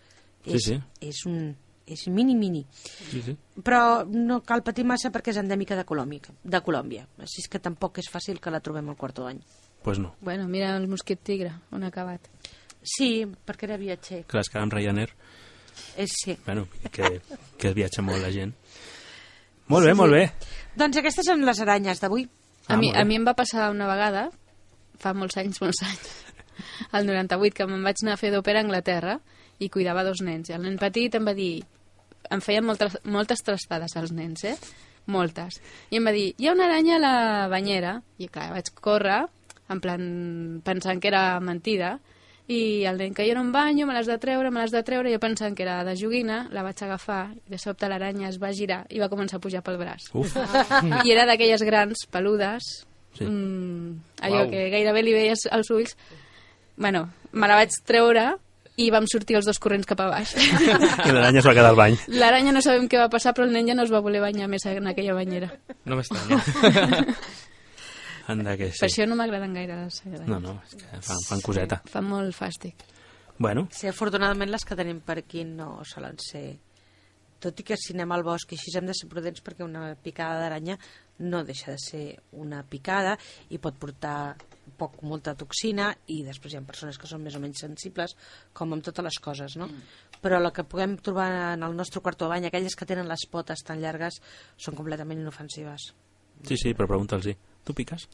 Speaker 17: és,
Speaker 1: Sí, sí.
Speaker 17: és un és mini, mini.
Speaker 1: Sí, sí.
Speaker 17: Però no cal patir massa perquè és endèmica de Colòmbia, de Colòmbia. Així és que tampoc és fàcil que la trobem al quarto d'any.
Speaker 1: Pues no.
Speaker 14: Bueno, mira el mosquit tigre, on ha acabat.
Speaker 17: Sí, perquè era viatger.
Speaker 1: Clar, és que amb Ryanair,
Speaker 17: És, sí.
Speaker 1: bueno, que, que es viatja molt la gent. Molt bé, molt bé.
Speaker 17: Doncs aquestes són les aranyes d'avui.
Speaker 14: A,
Speaker 1: Ah,
Speaker 14: mi,
Speaker 1: molt bé.
Speaker 14: a mi em va passar una vegada, fa molts anys, molts anys, al 98, que me'n vaig anar a fer d'òpera a Anglaterra i cuidava dos nens. I el nen petit em va dir... Em feien moltes, moltes trastades als nens, eh? Moltes. I em va dir, hi ha una aranya a la banyera. I clar, vaig córrer, en plan, pensant que era mentida, i el nen que jo no em banyo, me l'has de treure, me l'has de treure, i jo pensant que era de joguina, la vaig agafar, i de sobte l'aranya es va girar i va començar a pujar pel braç.
Speaker 1: Uf.
Speaker 14: I era d'aquelles grans, peludes,
Speaker 1: Sí.
Speaker 14: mm, allò
Speaker 1: Uau.
Speaker 14: que gairebé li veies els ulls. Bueno, me la vaig treure i vam sortir els dos corrents cap a baix.
Speaker 1: I l'aranya es va quedar al bany.
Speaker 14: L'aranya no sabem què va passar, però el nen ja no es va voler banyar més en aquella banyera.
Speaker 3: No m'estranya.
Speaker 1: Anda, que
Speaker 14: Sí.
Speaker 1: sí.
Speaker 14: Per això no m'agraden gaire les banyes.
Speaker 1: No, no, és que fan, fan coseta.
Speaker 14: Fa molt fàstic.
Speaker 1: Bueno,
Speaker 17: Sí, afortunadament les que tenim per aquí no solen ser... Tot i que si anem al bosc i així hem de ser prudents perquè una picada d'aranya no deixa de ser una picada i pot portar poc, molta toxina i després hi ha persones que són més o menys sensibles com amb totes les coses, no?
Speaker 14: Mm.
Speaker 17: Però la que puguem trobar en el nostre quart de bany, aquelles que tenen les potes tan llargues, són completament inofensives.
Speaker 1: sí, sí, però pregunta'ls-hi. Tu piques?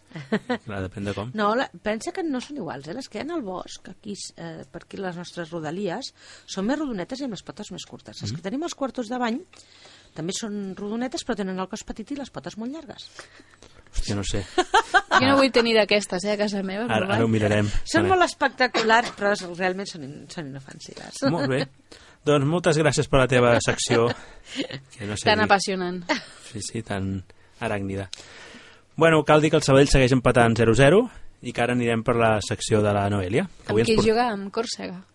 Speaker 1: Clar, depèn de com.
Speaker 17: No, la, pensa que no són iguals, eh? Les que hi ha al bosc, aquí, eh, per aquí les nostres rodalies, són més rodonetes i amb les potes més curtes.
Speaker 1: Mm-hmm.
Speaker 17: Les que tenim als quartos de bany també són rodonetes, però tenen el cos petit i les potes molt llargues.
Speaker 1: Hòstia, no sé.
Speaker 14: Jo no vull tenir d'aquestes, eh, a casa meva. però
Speaker 1: Ara, ara ho
Speaker 14: bueno.
Speaker 1: mirarem.
Speaker 17: Són molt espectaculars, però és- realment són, in, són inofensives.
Speaker 1: Molt bé. Doncs moltes gràcies per la teva secció. Que Eh, no sé
Speaker 14: Tan
Speaker 1: dir.
Speaker 14: apassionant.
Speaker 1: Sí, sí, tan aràcnida. Bueno, cal dir que el Sabadell segueix empatant 0-0 i que ara anirem per la secció de la Noelia. Que
Speaker 14: Amb
Speaker 1: avui
Speaker 14: qui
Speaker 1: ens
Speaker 14: juga? Amb Còrsega.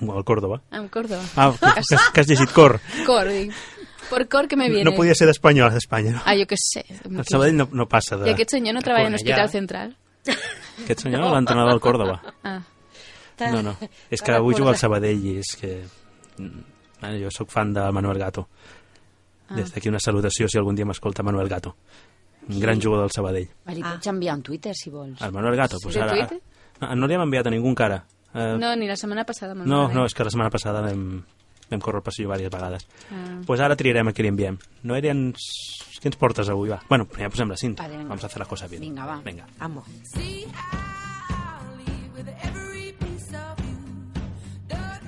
Speaker 1: porta... El Córdoba.
Speaker 14: Amb Córdoba.
Speaker 1: Ah, que, que, has- que has llegit Cor.
Speaker 14: Cor, dic. Por Cor que me viene.
Speaker 1: No podia ser d'Espanyol, d'Espanya.
Speaker 14: Ah, jo què sé.
Speaker 1: El Sabadell no, no passa de...
Speaker 14: I aquest senyor no treballa en
Speaker 1: Cornellà.
Speaker 14: Hospital Central?
Speaker 1: Aquest senyor, l'entrenador del Córdoba.
Speaker 14: Ah.
Speaker 1: No, no. És que avui juga al Sabadell i és que... mm, Bueno, jo sóc fan de Manuel Gato.
Speaker 2: Ah.
Speaker 1: Des d'aquí una salutació si algun dia m'escolta Manuel Gato. Un gran jugador del Sabadell.
Speaker 2: Li
Speaker 17: Ah.
Speaker 2: pots enviar un Twitter, si vols.
Speaker 1: El Manuel Gato,
Speaker 2: Sí.
Speaker 1: pues
Speaker 2: De
Speaker 1: ara...
Speaker 2: Twitter?
Speaker 1: Ah, No, no li hem enviat a ningú encara. Eh,
Speaker 14: No, ni la setmana passada. me'n
Speaker 1: no,
Speaker 14: recordo.
Speaker 1: no, és que la setmana passada vam, vam córrer el passillo diverses vegades.
Speaker 14: Ah.
Speaker 1: Pues ara triarem a qui li enviem. No eren... Què ens portes avui, va? Bueno, primer posem la cinta.
Speaker 2: Vale, venga.
Speaker 1: Vamos a hacer la cosa bien.
Speaker 2: Vinga, va.
Speaker 1: Vinga.
Speaker 17: Amo.
Speaker 5: See how I leave with every piece of you.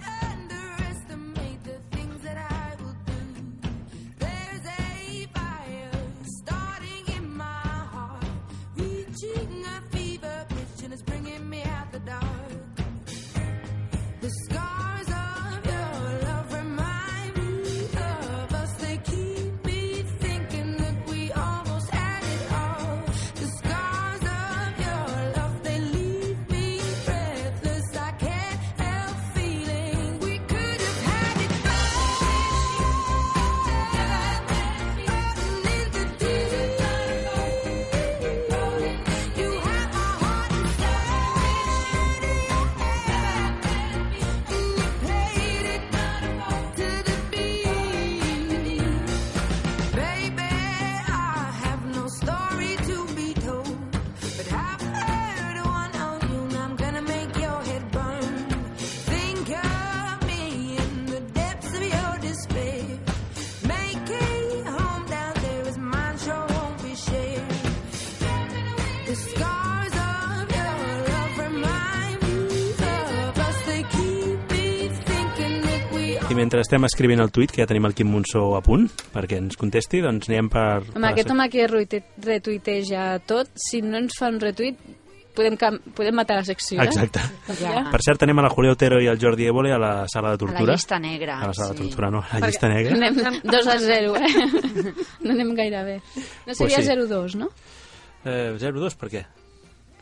Speaker 18: The scars of your love remind me of us. They keep me thinking that we almost had it all. The scars of your love, they leave me breathless. I can't help feeling we could have had it The scars of your love remind me of us. They keep me thinking that we
Speaker 1: I mentre estem escrivint el tuit, que ja tenim el Quim Monsó a punt, perquè ens contesti, doncs anem per...
Speaker 14: Home,
Speaker 1: per
Speaker 14: aquest
Speaker 1: la-
Speaker 14: home que retuite- retuiteja tot, si no ens fa un retuit, podem, cam- podem matar la secció, eh?
Speaker 1: Exacte.
Speaker 2: Ah.
Speaker 14: Ja.
Speaker 1: Per cert, tenim a la Julia Otero i el Jordi Évole a la sala de tortura.
Speaker 2: llista negra,
Speaker 1: A la sala de
Speaker 2: sí.
Speaker 1: tortura, no, a la
Speaker 14: Perquè
Speaker 1: llista negra.
Speaker 14: Anem 2 a 0, eh? No anem gaire bé. No
Speaker 1: Pues
Speaker 14: seria
Speaker 1: sí.
Speaker 14: 0-2, no?
Speaker 1: Eh, 0-2, per què?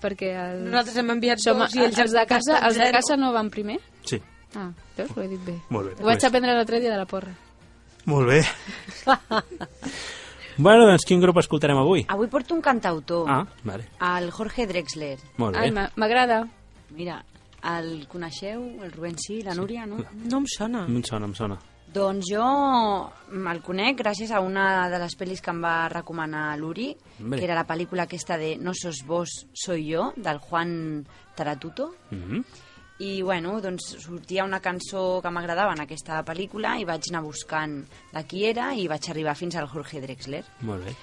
Speaker 14: Perquè el...
Speaker 17: Nosaltres hem enviat
Speaker 14: Som,
Speaker 17: dos i ells
Speaker 14: els de
Speaker 17: han
Speaker 14: casa,
Speaker 17: contestat
Speaker 14: els de
Speaker 17: zero.
Speaker 14: casa no van primer?
Speaker 1: Sí.
Speaker 14: Ah, veus, ho he dit bé.
Speaker 1: Molt bé,
Speaker 14: Ho vaig
Speaker 1: doncs.
Speaker 14: aprendre l'altre dia de la porra.
Speaker 1: Molt bé. bueno, doncs quin grup escoltarem avui?
Speaker 2: Avui porto un cantautor,
Speaker 1: Ah, vale.
Speaker 2: el Jorge Drexler.
Speaker 1: Molt bé. Ai, m'a-
Speaker 14: m'agrada.
Speaker 2: Mira, el coneixeu, el Rubén sí, la Núria, no?
Speaker 17: No em
Speaker 2: Ah.
Speaker 17: sona.
Speaker 1: A mi em sona, em sona.
Speaker 2: Doncs jo el conec gràcies a una de les pel·lis que em va recomanar l'Uri,
Speaker 1: Hombre.
Speaker 2: que era la pel·lícula aquesta de No sos vos, soy yo, del Juan Taratuto.
Speaker 1: Mm -hmm.
Speaker 2: I, bueno, doncs sortia una cançó que m'agradava en aquesta pel·lícula i vaig anar buscant de qui era i vaig arribar fins al Jorge Drexler.
Speaker 1: Molt bé.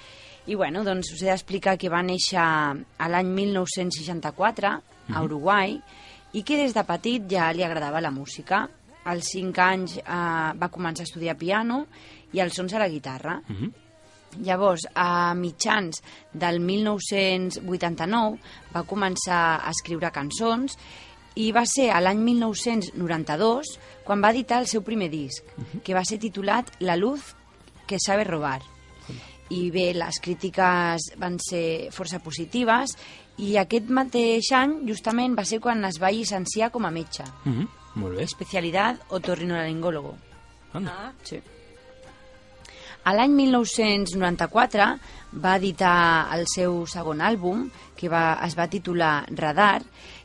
Speaker 2: I bueno, doncs us he d'explicar que va néixer a l'any 1964
Speaker 1: Mhm.
Speaker 2: a Uruguai i que des de petit ja li agradava la música. Als 5 anys eh, va començar a estudiar piano i als 11 la guitarra.
Speaker 1: Mhm.
Speaker 2: Llavors, a mitjans del 1989 va començar a escriure cançons i va ser a l'any 1992 quan va editar el seu primer disc, que va ser titulat La luz que sabe robar i bé, les crítiques van ser força positives i aquest mateix any justament va ser quan es va llicenciar com a metge,
Speaker 1: Mm -hmm. Molt bé.
Speaker 2: especialitat otorrinolaringólogo. Ah.
Speaker 1: Anda.
Speaker 2: Sí. A l'any 1994 va editar el seu segon àlbum, que va, es va titular Radar,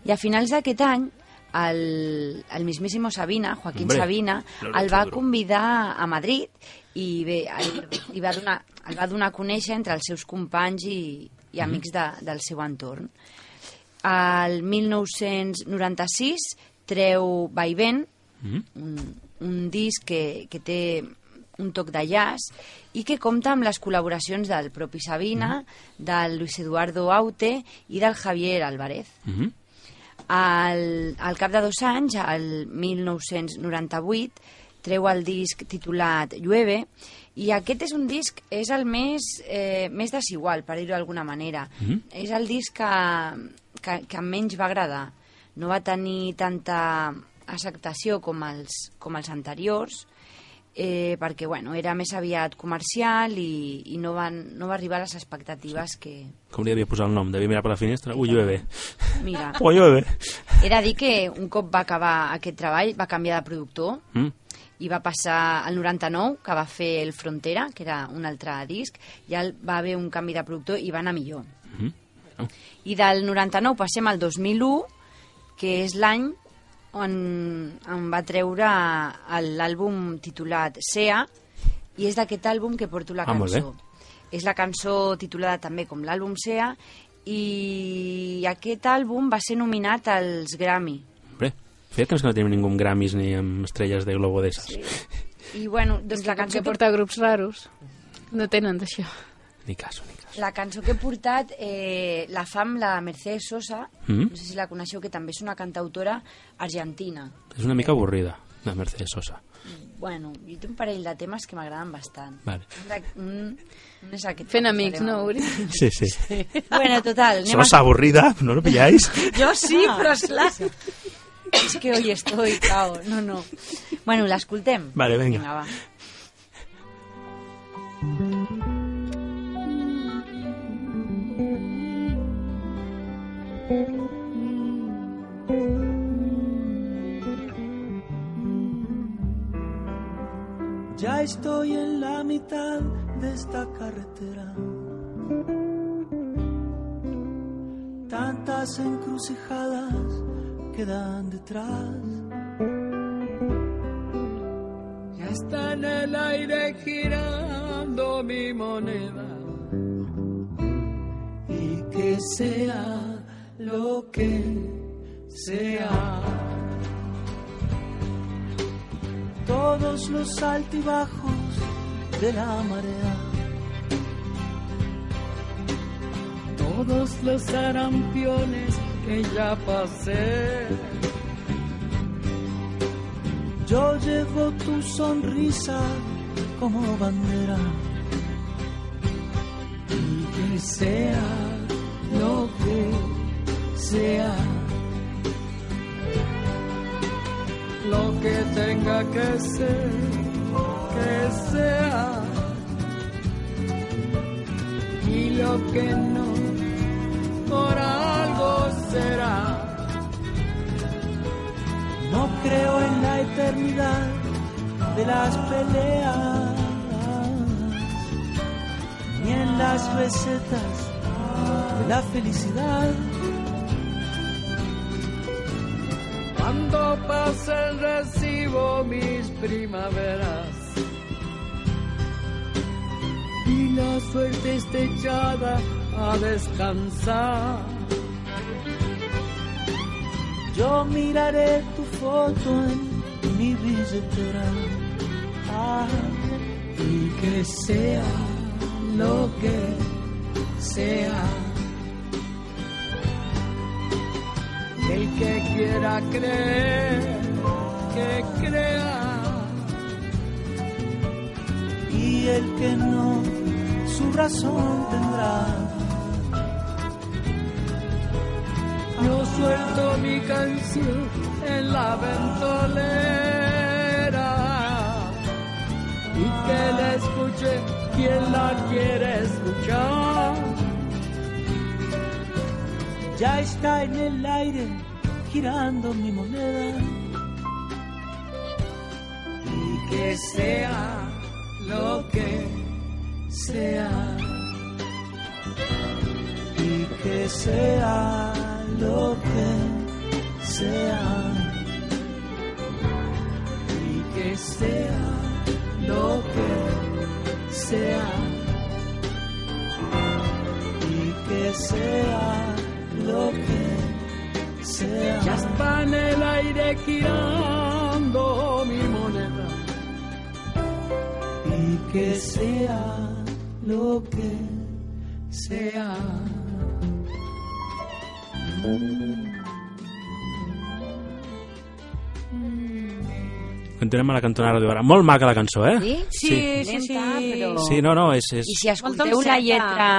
Speaker 2: i a finals d'aquest any el, el mismíssimo Sabina, Joaquín
Speaker 10: Hombre,
Speaker 2: Sabina,
Speaker 10: lo
Speaker 2: el
Speaker 10: hecho
Speaker 2: va
Speaker 10: duro.
Speaker 2: convidar a Madrid i bé, el, li va donar, el va donar a conèixer entre els seus companys i, i amics de, del seu entorn. El 1996 treu Vaivent, un, un disc que, que té un toc de jazz i que compta amb les col·laboracions del propi Sabina, del Luis Eduardo Aute i del Javier Álvarez.
Speaker 1: Mhm.
Speaker 2: Al, al cap de dos anys, al 1998, treu el disc titulat Llueve i aquest és un disc, és el més, eh, més desigual, per dir-ho d'alguna manera.
Speaker 18: Mhm.
Speaker 2: És el disc que, que, que menys va agradar. No va tenir tanta acceptació com els, com els anteriors, eh, perquè bueno, era més aviat comercial i, i no, van, no va arribar a les expectatives que...
Speaker 1: Com li havia posat el nom? Devia mirar per la finestra? Ui, llueve.
Speaker 2: Mira,
Speaker 1: Ui, llueve.
Speaker 2: he de dir que un cop va acabar aquest treball va canviar de productor
Speaker 1: Mm.
Speaker 2: i va passar al 99, que va fer el Frontera, que era un altre disc, i el, va haver un canvi de productor i va anar millor.
Speaker 1: Mhm.
Speaker 2: I del 99 passem al 2001, que és l'any on, on va treure el- l'àlbum titulat Sea, i és d'aquest àlbum que porto la
Speaker 1: Ah, molt bé.
Speaker 2: cançó. és la cançó titulada també com l'àlbum Sea, i aquest àlbum va ser nominat als Grammy.
Speaker 1: Hombre, feia temps que no tenim ningú amb Grammys ni amb estrelles de Globo d'esses. Sí.
Speaker 2: I bueno, doncs la cançó
Speaker 14: que porta grups raros. No tenen d'això.
Speaker 1: Ni caso, ni
Speaker 2: La cançó que he portat eh, la fa amb la Mercedes Sosa,
Speaker 1: Mhm.
Speaker 2: no sé si la coneixeu, que també és una cantautora argentina.
Speaker 1: És una mica avorrida, la Mercedes Sosa.
Speaker 2: Bueno, jo tinc un parell de temes que m'agraden bastant.
Speaker 1: Vale.
Speaker 2: Un de- Un, un és aquest.
Speaker 14: Fent amics, no, Uri?
Speaker 1: Sí, sí.
Speaker 2: Bueno, total, anem
Speaker 1: Sosa avorrida, no lo pilláis?
Speaker 2: Jo sí, però és clar. És que hoy estoy, cao. No, no. Bueno, l'escoltem?
Speaker 1: Vale, vinga.
Speaker 2: Vinga, va.
Speaker 5: Ya estoy en la mitad de esta carretera. Tantas encrucijadas quedan detrás. Ya está en el aire girando mi moneda. Y que sea lo que sea. todos los altibajos de la marea. Todos los arampiones que ya pasé. Yo llevo tu sonrisa como bandera. Y que sea lo que sea. lo que tenga que ser, que sea. Y lo que no, por algo será. No creo en la eternidad de las peleas, ni en las recetas de la felicidad. Cuando pase el recibo mis primaveras y la suerte esté echada a descansar, yo miraré tu foto en mi billetera Ah, y que sea lo que sea. El que quiera creer, que crea. Y el que no, su razón tendrá. Yo suelto mi canción en la ventolera. Y que la escuche quien la quiere escuchar. Ya está en el aire girando mi moneda. Y que sea lo que sea. Y que sea lo que sea. Y que sea lo que sea. Y que sea lo que sea. Ya está en el aire girando mi moneda. Y que sea lo que sea.
Speaker 1: Continuem a la cantonada de Barà. Molt maca la cançó, eh?
Speaker 2: Sí?
Speaker 1: Sí.
Speaker 2: sí, sí. Lenta, però...
Speaker 1: Sí, no, no, és- és-
Speaker 2: I si escolteu
Speaker 17: Molt
Speaker 2: la
Speaker 17: dolceta.
Speaker 2: lletra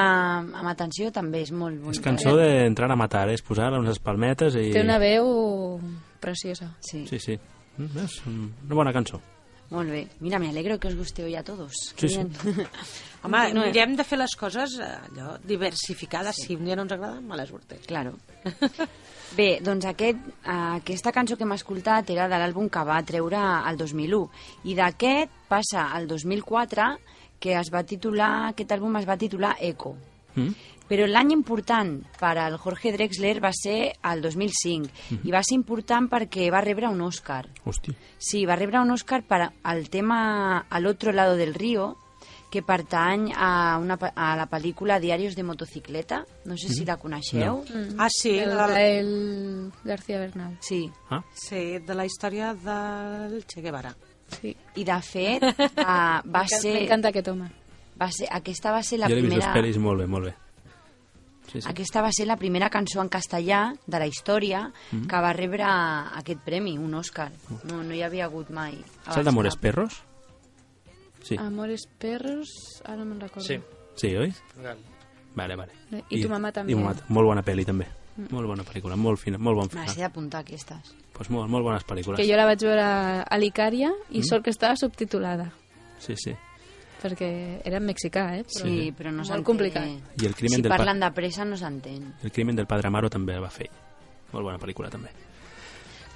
Speaker 2: amb atenció, també és molt bonica.
Speaker 1: És cançó d'entrar a matar, eh? és posar-la unes palmetes i...
Speaker 14: Té una veu preciosa.
Speaker 2: Sí.
Speaker 1: Sí, sí. Mm, És una bona cançó.
Speaker 2: Molt bé. Mira, me alegro que os guste hoy a todos.
Speaker 1: Sí, sí.
Speaker 17: Home,
Speaker 2: No, eh.
Speaker 17: mirem de fer les coses eh, allò, diversificades. Sí. Si un dia no ens agrada, males urtes.
Speaker 2: Claro. Bé, doncs aquest, eh, aquesta cançó que hem escoltat era de l'àlbum que va treure el 2001 i d'aquest passa al 2004 que es va titular, aquest àlbum es va titular Eco.
Speaker 5: Mm?
Speaker 2: Però l'any important per al Jorge Drexler va ser el 2005
Speaker 5: Mhm.
Speaker 2: i va ser important perquè va rebre un Òscar.
Speaker 1: Hòstia.
Speaker 2: Sí, va rebre un Òscar per al tema Al otro lado del río, que pertany a, una, pe- a la pel·lícula Diarios de motocicleta. No sé si
Speaker 17: Mhm.
Speaker 2: la coneixeu.
Speaker 17: No. Mm. Ah, sí,
Speaker 14: El
Speaker 17: la-
Speaker 14: Rafael García Bernal.
Speaker 2: Sí.
Speaker 1: Ah.
Speaker 17: Sí, de la història del Che Guevara.
Speaker 14: Sí.
Speaker 2: I de fet, uh, va
Speaker 14: M'encanta-
Speaker 2: ser...
Speaker 14: m'encanta aquest home.
Speaker 2: Va ser, aquesta va ser la
Speaker 1: jo l'he vist
Speaker 2: primera...
Speaker 1: les pel·lis molt bé, molt bé. Sí, sí.
Speaker 2: Aquesta va ser la primera cançó en castellà de la història
Speaker 1: Mhm.
Speaker 2: que va rebre aquest premi, un Òscar. No, no hi havia hagut mai.
Speaker 14: Ah,
Speaker 1: És el d'Amores Perros? Sí.
Speaker 14: Amores perros, ara me'n recordo.
Speaker 1: Sí, oi?
Speaker 3: Vale.
Speaker 1: Vale, vale.
Speaker 14: I tu mamà també. Mm.
Speaker 1: I tu mamà, molt bona pel·li també. Molt bona pel·lícula, molt, fina, molt bon
Speaker 2: Me
Speaker 1: final.
Speaker 2: les he d'apuntar, aquestes.
Speaker 1: Pues molt, molt bones pel·lícules.
Speaker 14: Que jo la vaig veure a l'Icària i
Speaker 1: Mm.
Speaker 14: sort que estava subtitulada,
Speaker 1: Sí, sí.
Speaker 14: perquè era en mexicà, eh? Però
Speaker 1: Sí,
Speaker 2: però no s'entén.
Speaker 14: Molt complicat.
Speaker 1: I el crimen
Speaker 2: si
Speaker 1: del pa-
Speaker 2: parlen de pressa no s'entén.
Speaker 1: El crimen del padre Amaro també la va fer. Molt bona pel·lícula, també.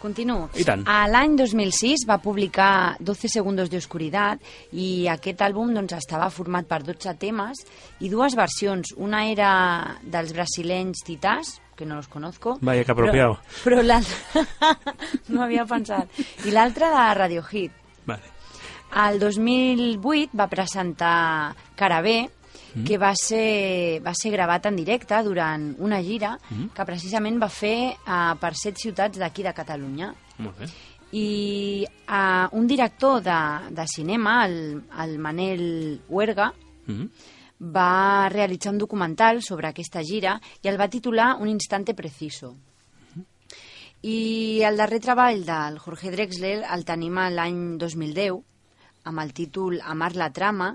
Speaker 2: Continuo.
Speaker 1: I tant.
Speaker 2: A l'any 2006 va publicar 12 segundos de oscuridad i aquest àlbum doncs, estava format per 12 temes i dues versions. Una era dels brasilenys Titàs, que no los conozco.
Speaker 1: Vaya que
Speaker 2: però-
Speaker 1: apropiado.
Speaker 2: Però, l'altra... no havia pensat. I l'altra de Radiohead.
Speaker 1: Vale.
Speaker 2: Al 2008 va presentar Carabé,
Speaker 1: Mm.
Speaker 2: que va ser, va ser gravat en directe durant una gira
Speaker 1: Mm.
Speaker 2: que precisament va fer eh, per set ciutats d'aquí de Catalunya.
Speaker 1: Molt bé.
Speaker 2: I eh, un director de, de cinema, el, el Manel Huerga,
Speaker 1: Mm.
Speaker 2: va realitzar un documental sobre aquesta gira i el va titular Un instante preciso. I el darrer treball del Jorge Drexler el tenim a l'any 2010 amb el títol Amar la trama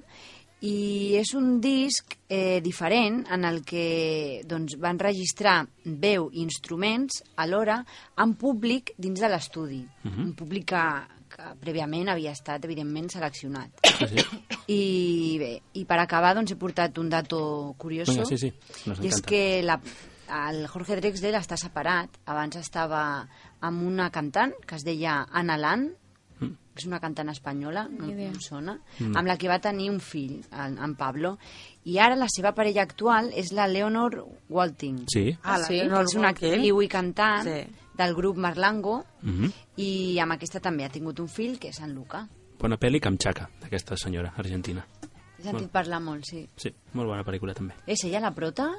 Speaker 2: i és un disc eh, diferent en el que doncs, van registrar veu i instruments alhora en públic dins de l'estudi.
Speaker 5: Mhm.
Speaker 2: Un públic que, que prèviament havia estat, evidentment, seleccionat.
Speaker 1: sí.
Speaker 2: I bé, i per acabar doncs, he portat un dato curioso.
Speaker 1: Vinga, sí, sí, nos
Speaker 2: I és
Speaker 1: encanta.
Speaker 2: que la, el Jorge Drexler està separat. Abans estava amb una cantant que es deia Ana Lan,
Speaker 1: Mm.
Speaker 2: que és una cantant espanyola, no, no em sona,
Speaker 5: Mm.
Speaker 2: amb la que va tenir un fill, en, en Pablo. I ara la seva parella actual és la Leonor Walting.
Speaker 1: Sí.
Speaker 5: Ah, la
Speaker 2: que
Speaker 5: Leonor
Speaker 2: és una
Speaker 5: Walting.
Speaker 2: actriu i cantant
Speaker 5: Sí.
Speaker 2: del grup Marlango,
Speaker 1: Mm.
Speaker 2: i amb aquesta també ha tingut un fill, que és en Luca.
Speaker 1: Bona pel·li Camchaca, d'aquesta senyora argentina.
Speaker 2: He sentit parlar molt, sí.
Speaker 1: Sí, molt bona pel·lícula, també.
Speaker 2: És ella la prota?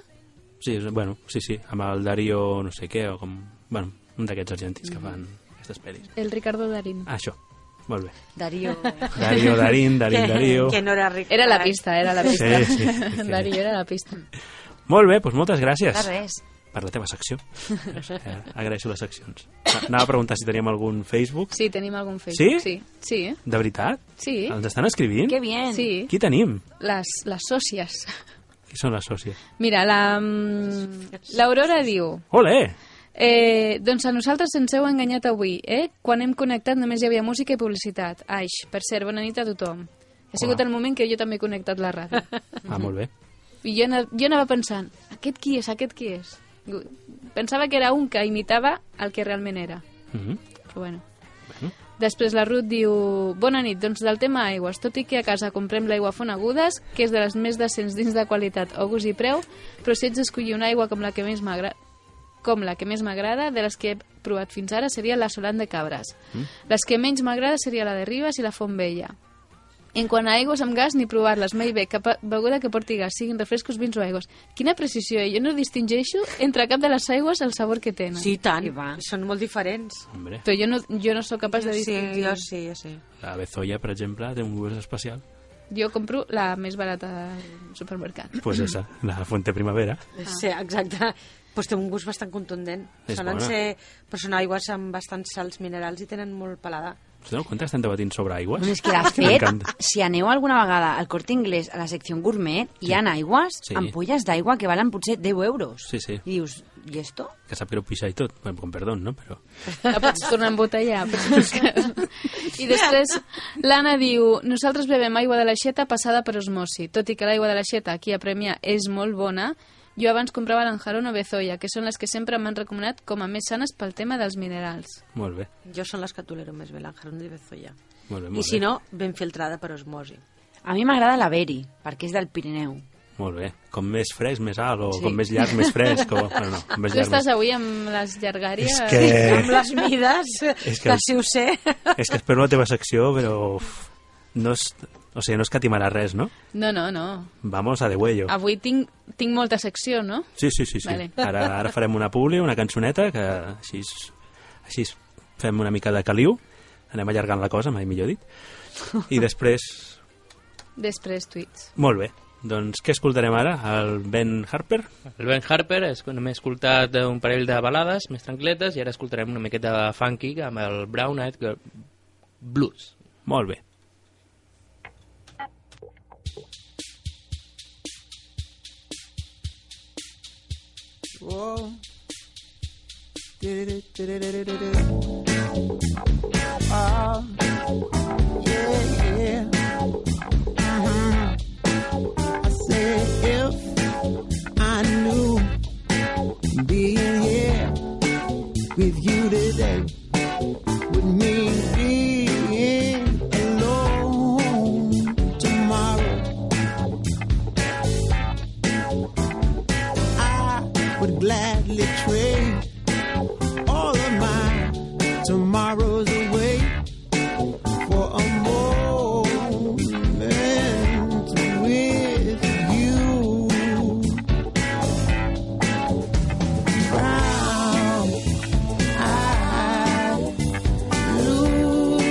Speaker 1: Sí, és- bueno, sí, sí, amb el Darío no sé què, o com... Bueno, un d'aquests argentins que fan aquestes pel·lis.
Speaker 14: El Ricardo Darín.
Speaker 1: Ah, això. Molt bé.
Speaker 2: Darío.
Speaker 1: Darío, Darín, Darín, Darío.
Speaker 17: no era ric.
Speaker 14: Era la pista, era la pista.
Speaker 1: Sí, sí, sí.
Speaker 14: Darío era la pista.
Speaker 1: Molt bé, doncs moltes gràcies.
Speaker 14: De res.
Speaker 1: Per la teva secció. Eh, agraeixo les seccions. A- Anava a preguntar si teníem algun Facebook.
Speaker 14: Sí, tenim algun Facebook. Sí? Sí, sí. eh?
Speaker 1: De veritat?
Speaker 14: sí.
Speaker 1: Ens estan escrivint?
Speaker 14: Qué bien. Sí.
Speaker 1: Qui tenim?
Speaker 14: Les, les sòcies.
Speaker 1: Qui són les sòcies?
Speaker 14: Mira, la, mm, l'Aurora diu...
Speaker 1: Ole!
Speaker 14: Eh, doncs a nosaltres ens heu enganyat avui, eh? Quan hem connectat només hi havia música i publicitat. Aix, per cert, bona nit a tothom. Ha sigut
Speaker 1: Hola.
Speaker 14: el moment que jo també he connectat la ràdio.
Speaker 1: Ah, molt bé.
Speaker 14: I jo, ana- jo anava pensant, aquest qui és, aquest qui és? Diu, Pensava que era un que imitava el que realment era.
Speaker 1: Mhm.
Speaker 14: Però bueno. Després la Ruth diu... Bona nit, doncs del tema aigües, tot i que a casa comprem l'aigua Fonagudes, que és de les més decents dins de qualitat o gust i preu, però si ets d'escollir una aigua com la que més m'agrada com la que més m'agrada, de les que he provat fins ara, seria la Solan de Cabres.
Speaker 5: Mm.
Speaker 14: Les que menys m'agrada seria la de Ribes i la Font Vella. En quant a aigües amb gas, ni provar-les mai bé. Cap a- beguda que porti gas, siguin refrescos, vins o aigües. Quina precisió, eh? jo no distingeixo entre cap de les aigües el sabor que tenen.
Speaker 17: Sí, i tant. Són molt diferents.
Speaker 1: Hombre.
Speaker 14: Però jo no, jo no sóc capaç de
Speaker 17: Jo sí,
Speaker 14: distingir.
Speaker 17: jo sí, jo sí.
Speaker 1: La Bezoya, per exemple, té un gust especial.
Speaker 14: Jo compro la més barata del supermercat.
Speaker 1: Doncs pues esa, la Fuente Primavera.
Speaker 17: Ah. Sí, exacte. Pues té un gust bastant contundent.
Speaker 1: És
Speaker 17: Solen
Speaker 1: bona.
Speaker 17: ser, però són aigües amb bastants salts minerals i tenen molt pelada.
Speaker 1: Us doneu compte que estem debatint sobre aigües?
Speaker 2: Bueno, és que de fet,
Speaker 1: M'encanta.
Speaker 2: si aneu alguna vegada al Corte Inglés a la secció gourmet, hi ha aigües,
Speaker 1: Sí.
Speaker 2: ampolles d'aigua que valen potser 10 euros.
Speaker 1: Sí, sí.
Speaker 2: I dius, i esto?
Speaker 1: Que sap greu pixar i tot. Bueno, com perdó, no? Però...
Speaker 14: La Ah, pots tornar a embotellar. però és que- I després l'Anna diu nosaltres bevem aigua de l'aixeta passada per osmosi. Tot i que l'aigua de l'aixeta aquí a Premià és molt bona, jo abans comprava l'Anjarón o Bezoia, que són les que sempre m'han recomanat com a més sanes pel tema dels minerals.
Speaker 1: Molt bé,
Speaker 17: Jo són les que tolero més bé, l'Anjaron de Bezoya.
Speaker 1: molt bé,
Speaker 17: I
Speaker 1: molt
Speaker 17: si
Speaker 1: bé.
Speaker 17: no, ben filtrada per osmosi.
Speaker 2: A mi m'agrada la Beri, perquè és del Pirineu.
Speaker 1: Molt bé. Com més fresc, més alt, o
Speaker 2: Sí.
Speaker 1: com més llarg, més fresc. O... Bueno, no, com més
Speaker 14: Tu
Speaker 1: llarg,
Speaker 14: estàs avui amb les llargàries...
Speaker 1: És que-
Speaker 17: Amb les mides,
Speaker 1: És
Speaker 17: és
Speaker 1: que-
Speaker 17: que... de si ho sé.
Speaker 1: més... És que espero la teva secció, però... Uf, no es... O sigui, no escatimarà res, no?
Speaker 14: No, no, no.
Speaker 1: Vamos a de huello.
Speaker 14: Avui tinc, tinc molta secció, no?
Speaker 1: Sí, sí, sí. sí.
Speaker 14: Ah, Vale.
Speaker 1: Ara, ara farem una publi, una cançoneta, que així, així fem una mica de caliu. Anem allargant la cosa, mai millor dit. I després...
Speaker 14: Després tuits.
Speaker 1: Molt bé. Doncs què escoltarem ara? El Ben Harper?
Speaker 3: El Ben Harper, es- m'he escoltat un parell de balades més tranquil·letes i ara escoltarem una miqueta de funky amb el Brown Eyed Girl Blues.
Speaker 1: Molt bé.
Speaker 5: Whoa. Oh, yeah, yeah. Mhm. I said if I knew being here with you today would mean being alone tomorrow, I would gladly trade all of my tomorrows away for a moment with you. Brown eyed blues.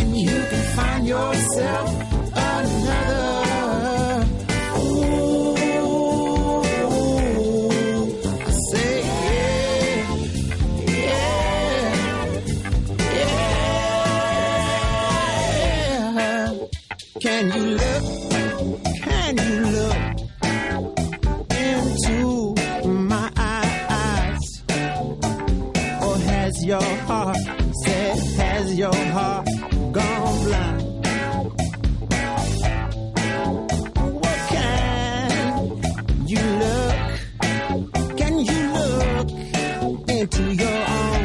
Speaker 5: You can find yourself another. Ooh, I say yeah, yeah, yeah. Can you look? Can you look into my eyes? Or has your heart said? Has your heart gone blind? What can you look? Can you look into your own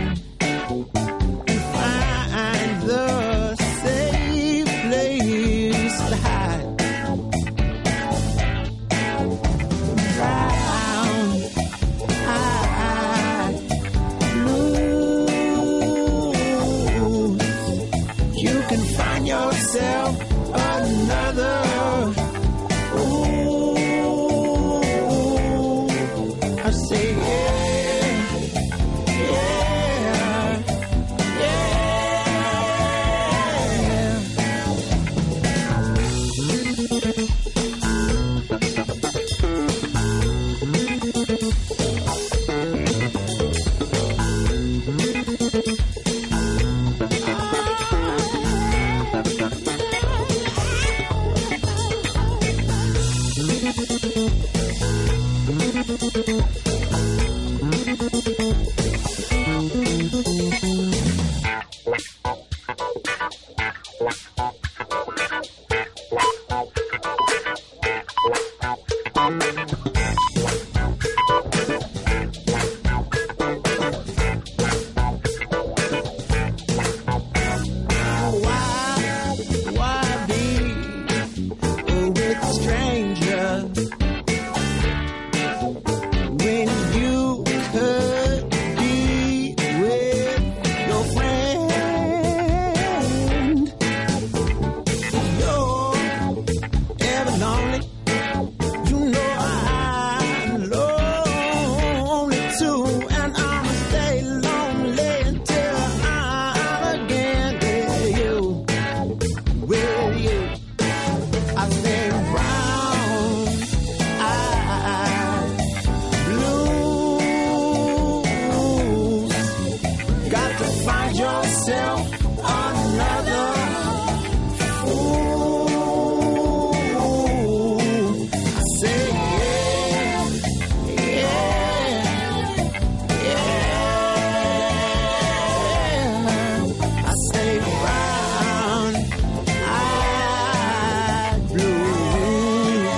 Speaker 5: and find the safe place to hide? Brown eyed blues. You can find yourself another. Ooh, I say yeah, yeah, yeah. Why, why be with strangers when you could be with your friend? You're ever lonely. You know I'm lonely too, and I'ma stay lonely until I'm again with you, with you. I say brown eyed blues. Got to find yourself another. Ooh, I say yeah, yeah, yeah. I say brown eyed blue.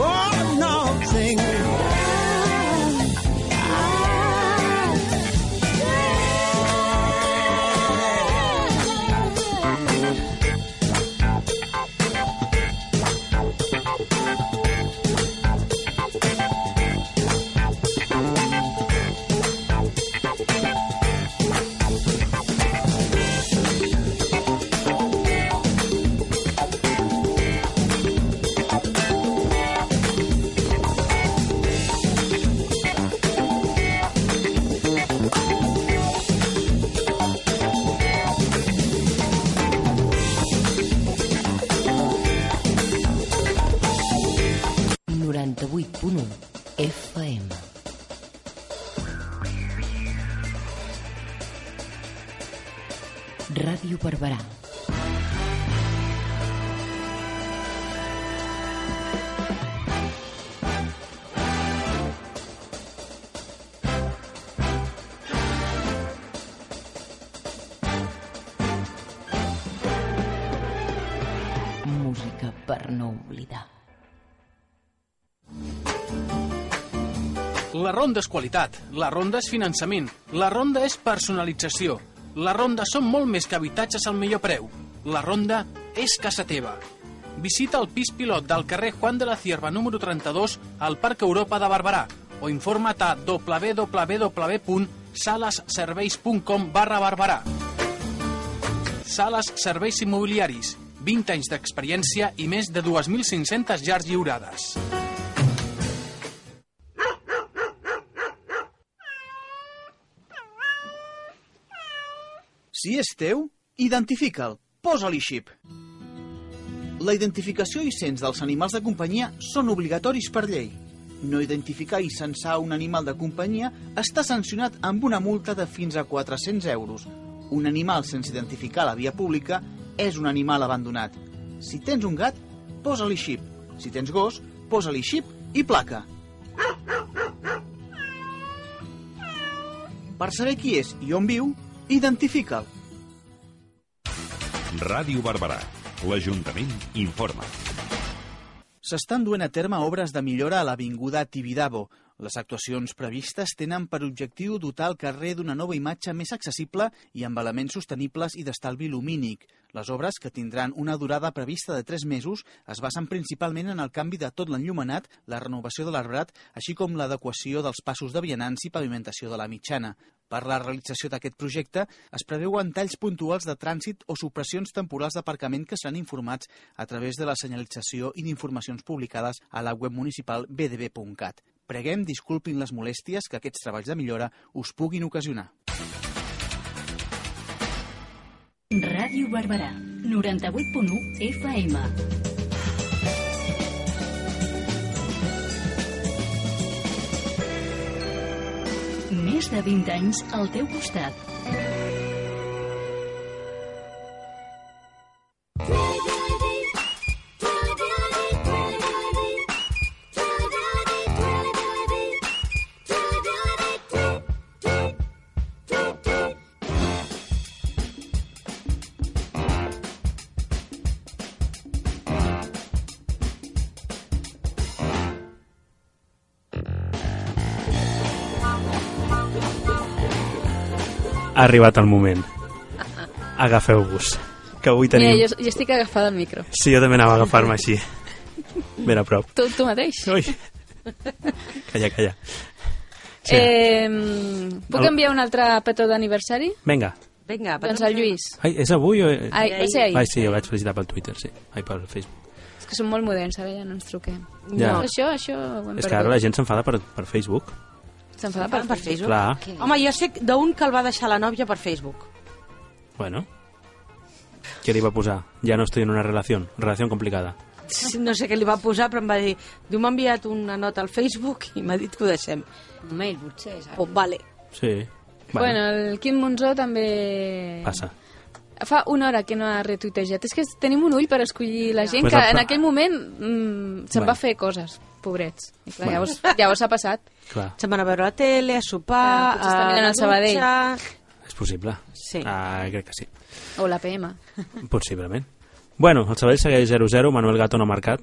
Speaker 5: Oh, nothing.
Speaker 10: FM. Ràdio Barberà.
Speaker 19: per no oblidar.
Speaker 20: La ronda és qualitat, la ronda és finançament, la ronda és personalització, la ronda són molt més que habitatges al millor preu. La ronda és casa teva. Visita el pis pilot del carrer Juan de la Cierva número 32 al Parc Europa de Barberà o informa't a www.salaserveis.com barra Barberà. Sales Serveis Immobiliaris, 20 anys d'experiència i més de 2.500 llars lliurades.
Speaker 11: Si és teu, identifica'l, posa-li xip. La identificació i cens dels animals de companyia són obligatoris per llei. No identificar i censar un animal de companyia està sancionat amb una multa de fins a 400 euros. Un animal sense identificar a la via pública és un animal abandonat. Si tens un gat, posa-li xip. Si tens gos, posa-li xip i placa. Per saber qui és i on viu, identifica'l.
Speaker 21: Ràdio Barberà. L'Ajuntament informa.
Speaker 11: S'estan duent a terme obres de millora a l'Avinguda Tibidabo. Les actuacions previstes tenen per objectiu dotar el carrer d'una nova imatge més accessible i amb elements sostenibles i d'estalvi lumínic. Les obres, que tindran una durada prevista de 3 mesos, es basen principalment en el canvi de tot l'enllumenat, la renovació de l'arbrat, així com l'adequació dels passos de vianants i pavimentació de la mitjana. Per la realització d'aquest projecte es preveuen talls puntuals de trànsit o supressions temporals d'aparcament que seran informats a través de la senyalització i d'informacions publicades a la web municipal bdb.cat. Preguem disculpin les molèsties que aquests treballs de millora us puguin ocasionar.
Speaker 13: Ràdio Barberà, 98.1 FM. Més de 20 anys al teu costat.
Speaker 1: Ha arribat el moment. Agafeu-vos, que avui
Speaker 14: Mira,
Speaker 1: tenim...
Speaker 14: jo, jo estic agafada al micro.
Speaker 1: Sí, jo també anava a agafar-me així. Ben a prop.
Speaker 14: Tu, tu mateix?
Speaker 1: Ui. Calla, calla. Sí.
Speaker 14: Eh, puc
Speaker 1: El-
Speaker 14: enviar un altre petó d'aniversari?
Speaker 1: Vinga.
Speaker 17: Vinga,
Speaker 14: Doncs al Lluís.
Speaker 1: Ai, és avui o...
Speaker 14: Ai, va ser ahir.
Speaker 1: Ai, sí, jo vaig felicitar pel Twitter, sí. Ai, pel Facebook.
Speaker 14: És que som molt moderns, ara ja no ens truquem.
Speaker 1: Ja.
Speaker 14: No. Això, això ho hem
Speaker 1: és que ara la gent s'enfada per, per Facebook.
Speaker 14: S'enfada per, per Facebook.
Speaker 1: Clar.
Speaker 14: Què?
Speaker 17: Home, jo sé d'un que el va deixar la nòvia per Facebook.
Speaker 1: Bueno. Què li va posar? Ja no estoy en una relación. Relación complicada.
Speaker 17: No sé què li va posar, però em va dir... Diu, m'ha enviat una nota al Facebook i m'ha dit que ho deixem.
Speaker 2: Un mail, potser, saps?
Speaker 17: Oh, vale.
Speaker 1: Sí. Vale,
Speaker 14: Bueno, el Quim Monzó també...
Speaker 1: passa.
Speaker 14: Fa una hora que no ha retuitejat. És que tenim un ull per escollir la gent
Speaker 1: Pues
Speaker 14: que
Speaker 1: el
Speaker 14: en
Speaker 1: fa-
Speaker 14: aquell moment mm, se'n
Speaker 1: Bueno.
Speaker 14: va fer coses, pobrets. I clar,
Speaker 1: Bueno.
Speaker 14: llavors, llavors s'ha passat.
Speaker 1: Clar,
Speaker 17: Se'n van a veure la tele, a
Speaker 14: Ah,
Speaker 17: sopar...
Speaker 14: potser
Speaker 17: a
Speaker 14: està mirant
Speaker 17: la
Speaker 14: el Sabadell.
Speaker 2: Ah,
Speaker 17: dutxa.
Speaker 1: és possible.
Speaker 17: Sí.
Speaker 1: Ah, crec que sí.
Speaker 14: O la Ah, PM.
Speaker 1: Possiblement. Bueno, el Sabadell segueix 0-0, Manuel Gato no ha marcat.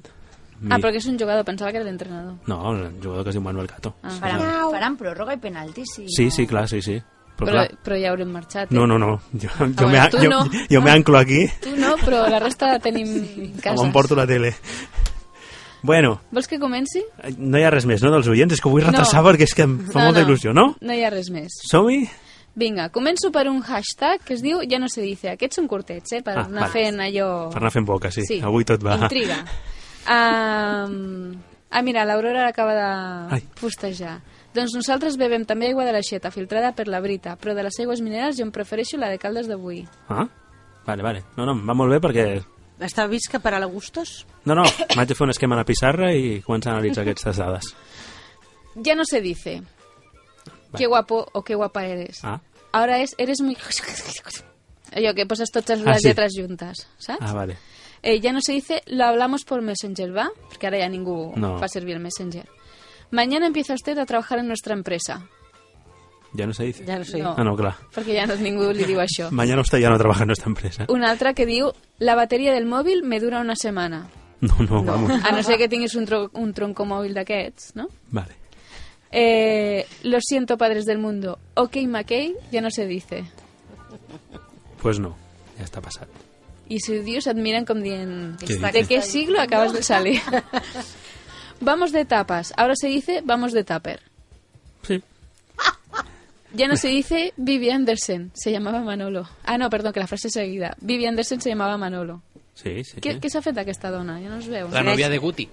Speaker 14: Ah, però que és un jugador, pensava que era l'entrenador.
Speaker 1: No, el jugador que es diu Manuel Gato.
Speaker 14: Ah.
Speaker 2: Faran, faran pròrroga i penaltis? Sí,
Speaker 1: Sí, sí, clar, sí, sí. Però,
Speaker 14: Però,
Speaker 1: clar,
Speaker 14: però ja haurem marxat. eh?
Speaker 1: no, no, no. Jo, jo,
Speaker 14: bueno,
Speaker 1: me,
Speaker 14: tu
Speaker 1: jo,
Speaker 14: no. Ah,
Speaker 1: jo me anclo aquí,
Speaker 14: Tu no, però la resta la tenim casa.
Speaker 1: on porto la tele. Bueno,
Speaker 14: Vols que comenci?
Speaker 1: no hi ha res més, no, dels oients? És que ho vull
Speaker 14: No.
Speaker 1: retrasar perquè és que em fa molta il·lusió, no?
Speaker 14: No hi ha res més.
Speaker 1: Som-hi?
Speaker 14: Vinga, començo per un hashtag que es diu Ja no se dice. Aquests són curtets, eh? Per
Speaker 1: Ah,
Speaker 14: anar
Speaker 1: vale.
Speaker 14: fent allò...
Speaker 1: Per anar fent boca, sí. Avui tot va.
Speaker 14: Intriga. Um... Ah, mira, l'Aurora l'acaba de postejar. Doncs nosaltres bevem també aigua de l'aixeta, filtrada per la Brita, però de les aigües minerals jo em prefereixo la de Caldes d'avui.
Speaker 1: Ah, vale, vale. No, no, em va molt bé perquè...
Speaker 17: Està vist que per a la gustos?
Speaker 1: No, no, m'haig de fer un esquema a la pissarra i començar a analitzar aquestes dades.
Speaker 14: Ya no se dice qué guapo o qué guapa eres.
Speaker 1: Ah.
Speaker 14: Ahora es eres muy... Allò que poses totes
Speaker 1: Ah,
Speaker 14: les
Speaker 1: sí.
Speaker 14: lletres juntes, saps?
Speaker 1: Ah, vale.
Speaker 14: Eh, ya no se dice lo hablamos por Messenger, ¿va? Porque ahora ya ningú
Speaker 1: No.
Speaker 14: va a servir el Messenger. Mañana empieza usted a trabajar en nuestra empresa.
Speaker 1: Ja no se dice.
Speaker 14: Ja no se dice.
Speaker 1: Ah, no, clar.
Speaker 14: Perquè ja no ningú li diu això.
Speaker 1: Mañana usted ya no trabaja en nuestra empresa.
Speaker 14: Una altra que diu la bateria del mòbil me dura una setmana.
Speaker 1: No, no, vamos.
Speaker 14: A no ser que tinguis un, tro un tronco mòbil d'aquests, no?
Speaker 1: Vale.
Speaker 14: Eh, lo siento, padres del mundo. OK, McKay, ya no se dice.
Speaker 1: Pues no, ja està passat.
Speaker 14: Y sus dios admiran como dient...
Speaker 1: Què
Speaker 14: ¿De
Speaker 1: dices?
Speaker 14: qué siglo acabas de salir? vamos de tapas. Ahora se dice vamos de tupper.
Speaker 1: Sí.
Speaker 14: Ya no se dice Vivi Andersen, se llamaba Manolo. Ah, no, perdón, que la frase es seguida. Vivi Andersen se llamaba Manolo.
Speaker 1: Sí, sí.
Speaker 14: Què, què s'ha fet aquesta dona? Ja no es veu.
Speaker 3: La novia de Guti.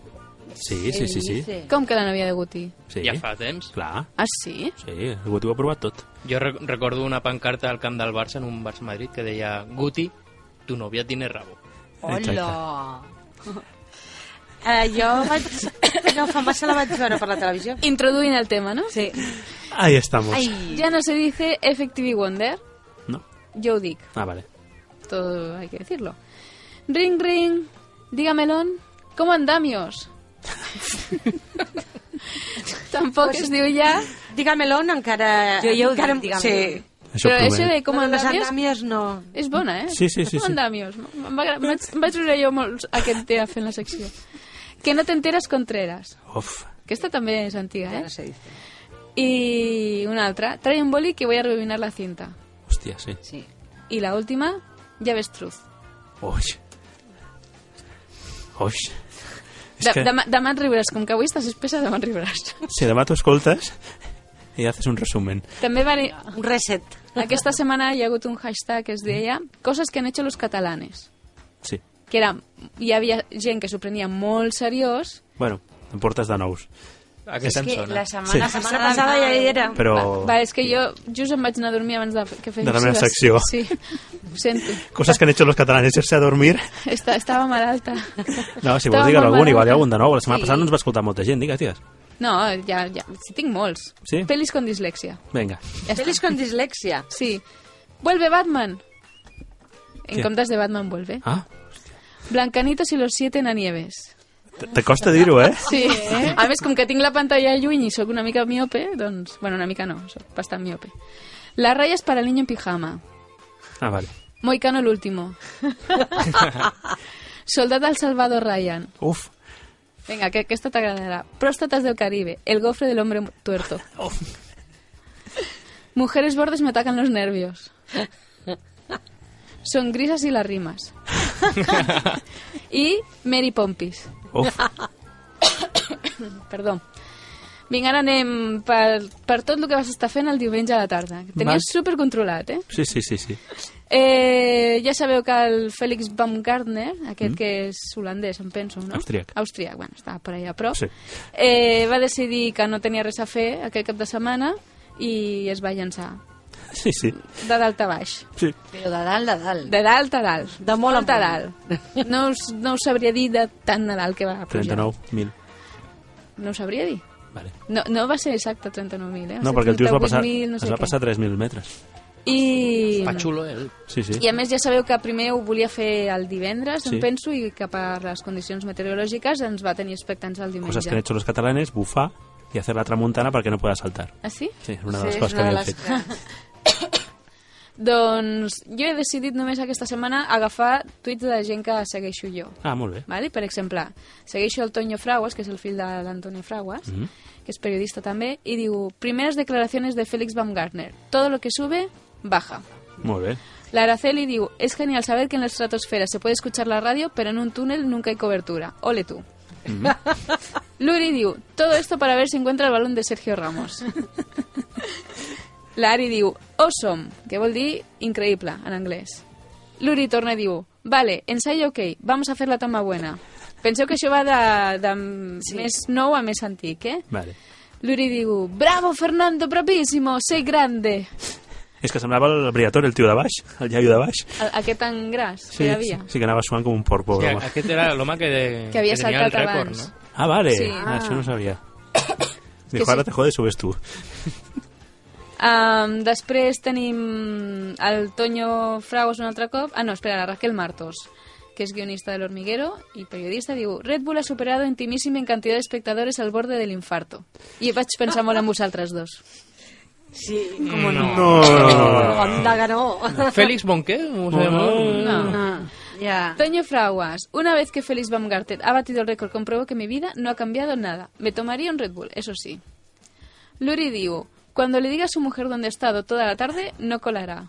Speaker 1: Sí, sí, sí, sí.
Speaker 14: Com que la novia de Guti?
Speaker 1: sí.
Speaker 3: Ja fa temps.
Speaker 1: Clar.
Speaker 14: Ah, sí?
Speaker 1: Sí, el Guti ho ha provat tot.
Speaker 3: Jo re recordo una pancarta al camp del Barça en un Barça-Madrid que deia Guti, tu novia tiene rabo.
Speaker 17: Hola! Eh, jo vaig... No, fa massa la vaig veure per la televisió.
Speaker 14: Introduint el tema, no?
Speaker 17: Sí.
Speaker 1: Ahí estamos.
Speaker 14: Ya no se dice Effective Wonder.
Speaker 1: No.
Speaker 14: Joe Dick,
Speaker 1: Ah, vale.
Speaker 14: todo hay que decirlo. Ring, ring, dígamelón, ¿cómo andamios? Tampoc
Speaker 17: Pues
Speaker 14: es diu ja...
Speaker 17: Dígamelón encara...
Speaker 14: Jo ja ho dic,
Speaker 17: encara...
Speaker 14: dígamelón.
Speaker 17: Sí.
Speaker 1: Això Però prové.
Speaker 14: això de com
Speaker 17: No,
Speaker 14: andàmies-
Speaker 17: Les andàmies no.
Speaker 14: És bona, eh?
Speaker 1: Sí, sí, sí,
Speaker 14: Com
Speaker 1: sí.
Speaker 14: andamios. Em va, em vaig, em vaig riure jo molt aquest dia fent la secció. Que no t'enteres Contreras.
Speaker 1: Uf.
Speaker 14: Aquesta també és antiga, eh? I una altra. Trae un boli que voy a rebobinar la cinta.
Speaker 1: Hòstia, sí.
Speaker 2: Sí.
Speaker 14: I la última, Llavestruz.
Speaker 1: Oix. Oix. És
Speaker 14: De,
Speaker 1: que-
Speaker 14: demà, demà et riuràs, com que avui estàs espessa, demà et riuràs.
Speaker 1: Si demà t'ho escoltes i haces un resumen.
Speaker 14: També va... Un reset. Aquesta setmana hi ha hagut un hashtag que es deia Coses que han hecho los catalanes.
Speaker 1: Sí.
Speaker 14: Que era, hi havia gent que s'ho prenia molt seriós
Speaker 1: Bueno, em portes de nous.
Speaker 14: És
Speaker 3: Aquesta
Speaker 14: em que sona. la setmana-
Speaker 1: sí.
Speaker 14: la setmana La passada ja hi era.
Speaker 1: Però
Speaker 14: Va, és que jo just em vaig anar a dormir abans de, que fes
Speaker 1: De la meva
Speaker 14: les-
Speaker 1: secció.
Speaker 14: Sí, ho sento.
Speaker 1: coses que han hecho los catalanes irse a dormir.
Speaker 14: Esta, estava malalta.
Speaker 1: No, si
Speaker 14: Estava
Speaker 1: vols digue'l
Speaker 14: molt
Speaker 1: algun, igual hi ha
Speaker 14: malalta.
Speaker 1: algun de nou. La setmana
Speaker 14: Sí.
Speaker 1: passada no ens va escoltar molta gent, digues, digues.
Speaker 14: No, ja, ja, sí, tinc molts.
Speaker 1: Sí?
Speaker 14: Pelis con dislexia.
Speaker 1: Vinga.
Speaker 14: Pelis con dislexia? Sí. Vuelve Batman. En
Speaker 1: Què?
Speaker 14: comptes de Batman vuelve.
Speaker 1: Ah.
Speaker 14: Blancanitos y los siete nieves.
Speaker 1: Te- Te costa dir-ho, eh?
Speaker 14: Sí. A més, com que tinc la pantalla lluny i sóc una mica miope, doncs... Bueno, una mica no, sóc bastant miope. Las rayas para el niño en pijama.
Speaker 1: Ah, vale.
Speaker 14: Moicano el último. Soldat al Salvador Ryan.
Speaker 1: Uf.
Speaker 14: Venga, que aquesta t'agradarà. Próstatas del Caribe. El gofre del hombre tuerto. Mujeres bordes me atacan los nervios. Son grisas y las rimas. y Mary Pompis.
Speaker 1: Uf.
Speaker 14: Perdó. Vinga, ara anem per, per tot el que vas estar fent el diumenge a la tarda. que Tenies
Speaker 1: Val.
Speaker 14: supercontrolat, eh?
Speaker 1: Sí, sí, sí, sí.
Speaker 14: Eh, ja sabeu que el Félix Baumgartner, aquest
Speaker 1: Mm.
Speaker 14: mm. que és holandès, em penso, no?
Speaker 1: Austríac.
Speaker 14: Austríac, bueno, està per allà a prop.
Speaker 1: Sí.
Speaker 14: Eh, va decidir que no tenia res a fer aquest cap de setmana i es va llançar
Speaker 1: Sí, sí.
Speaker 14: de dalt a baix.
Speaker 1: Sí.
Speaker 14: Però de dalt a dalt. De dalt a dalt. De molt a dalt. No us, no us sabria dir de tant a dalt que va pujar.
Speaker 1: 39.000.
Speaker 14: No ho sabria dir.
Speaker 1: Vale.
Speaker 14: No, no va ser exacte 39.000, eh?
Speaker 1: No, perquè el tio es va passar,
Speaker 14: 38.000, no
Speaker 1: es
Speaker 14: sé
Speaker 1: va
Speaker 14: què.
Speaker 1: passar 3.000 metres.
Speaker 14: I...
Speaker 3: ell.
Speaker 1: Sí, sí.
Speaker 14: I a més ja sabeu que primer ho volia fer el divendres,
Speaker 1: Sí.
Speaker 14: em penso, i que per les condicions meteorològiques ens va tenir expectants el diumenge.
Speaker 1: Cosas que han hecho los catalanes, bufar y hacer la tramuntana para que no pueda saltar.
Speaker 14: Ah, sí?
Speaker 1: Sí, és una de les coses que havien fet.
Speaker 14: doncs jo he decidit només aquesta setmana agafar tuits de gent que segueixo jo.
Speaker 1: Ah, molt bé.
Speaker 14: Vale? Per exemple, segueixo el Toño Fraguas, que és el fill de l'Antonio Fraguas,
Speaker 5: Mm.
Speaker 1: Mhm.
Speaker 14: que és periodista també, i diu, primeres declaraciones de Félix Baumgartner, todo lo que sube, baja.
Speaker 1: Molt bé.
Speaker 14: La Araceli diu, es genial saber que en la estratosfera se puede escuchar la radio, pero en un túnel nunca hay cobertura. Ole tú. Luri diu, todo esto para ver si encuentra el balón de Sergio Ramos. La Ari diu, awesome, que vol dir increïble en anglès. Luri torna i diu, vale, ensaio ok, vamos a fer la toma buena. Penseu que això va de, de sí. més nou a més antic, eh?
Speaker 1: Vale.
Speaker 14: Luri diu, bravo Fernando, bravísimo, sei grande.
Speaker 1: És que semblava el Briator, el tio de baix, el iaio de baix.
Speaker 14: A- Aquest tan gras que
Speaker 1: Sí,
Speaker 14: hi havia.
Speaker 1: sí, sí que anava suant com un porc, pobre
Speaker 3: Sí,
Speaker 1: home.
Speaker 3: aquest era l'home que, de,
Speaker 14: Que havia
Speaker 3: tenia el
Speaker 14: saltat
Speaker 3: rècord,
Speaker 14: abans.
Speaker 3: no?
Speaker 1: Ah, vale,
Speaker 14: Sí.
Speaker 1: ah, això no sabia.
Speaker 14: Que
Speaker 1: Dijo, ara
Speaker 14: sí.
Speaker 1: te jodes, subes tu.
Speaker 14: Um, després tenim el Toño Fragos un altre cop. Ah, no, espera, la Raquel Martos, que es guionista del Hormiguero y periodista. Diu, Red Bull ha superado intimísima en cantidad de espectadores al borde del infarto. I vaig pensar molt en vosaltres dos.
Speaker 17: Sí,
Speaker 3: com no.
Speaker 1: Mm, No, no, no, no.
Speaker 17: Onda que no.
Speaker 3: Félix Bonqué? No,
Speaker 1: No,
Speaker 3: no,
Speaker 14: No.
Speaker 2: Ya.
Speaker 14: Toño Fraguas, una vez que Félix Baumgartet ha batido el récord, compruebo que mi vida no ha cambiado nada. Me tomaría un Red Bull, eso sí. Luri Diu, cuando le diga a su mujer dónde ha estado toda la tarde, no colará.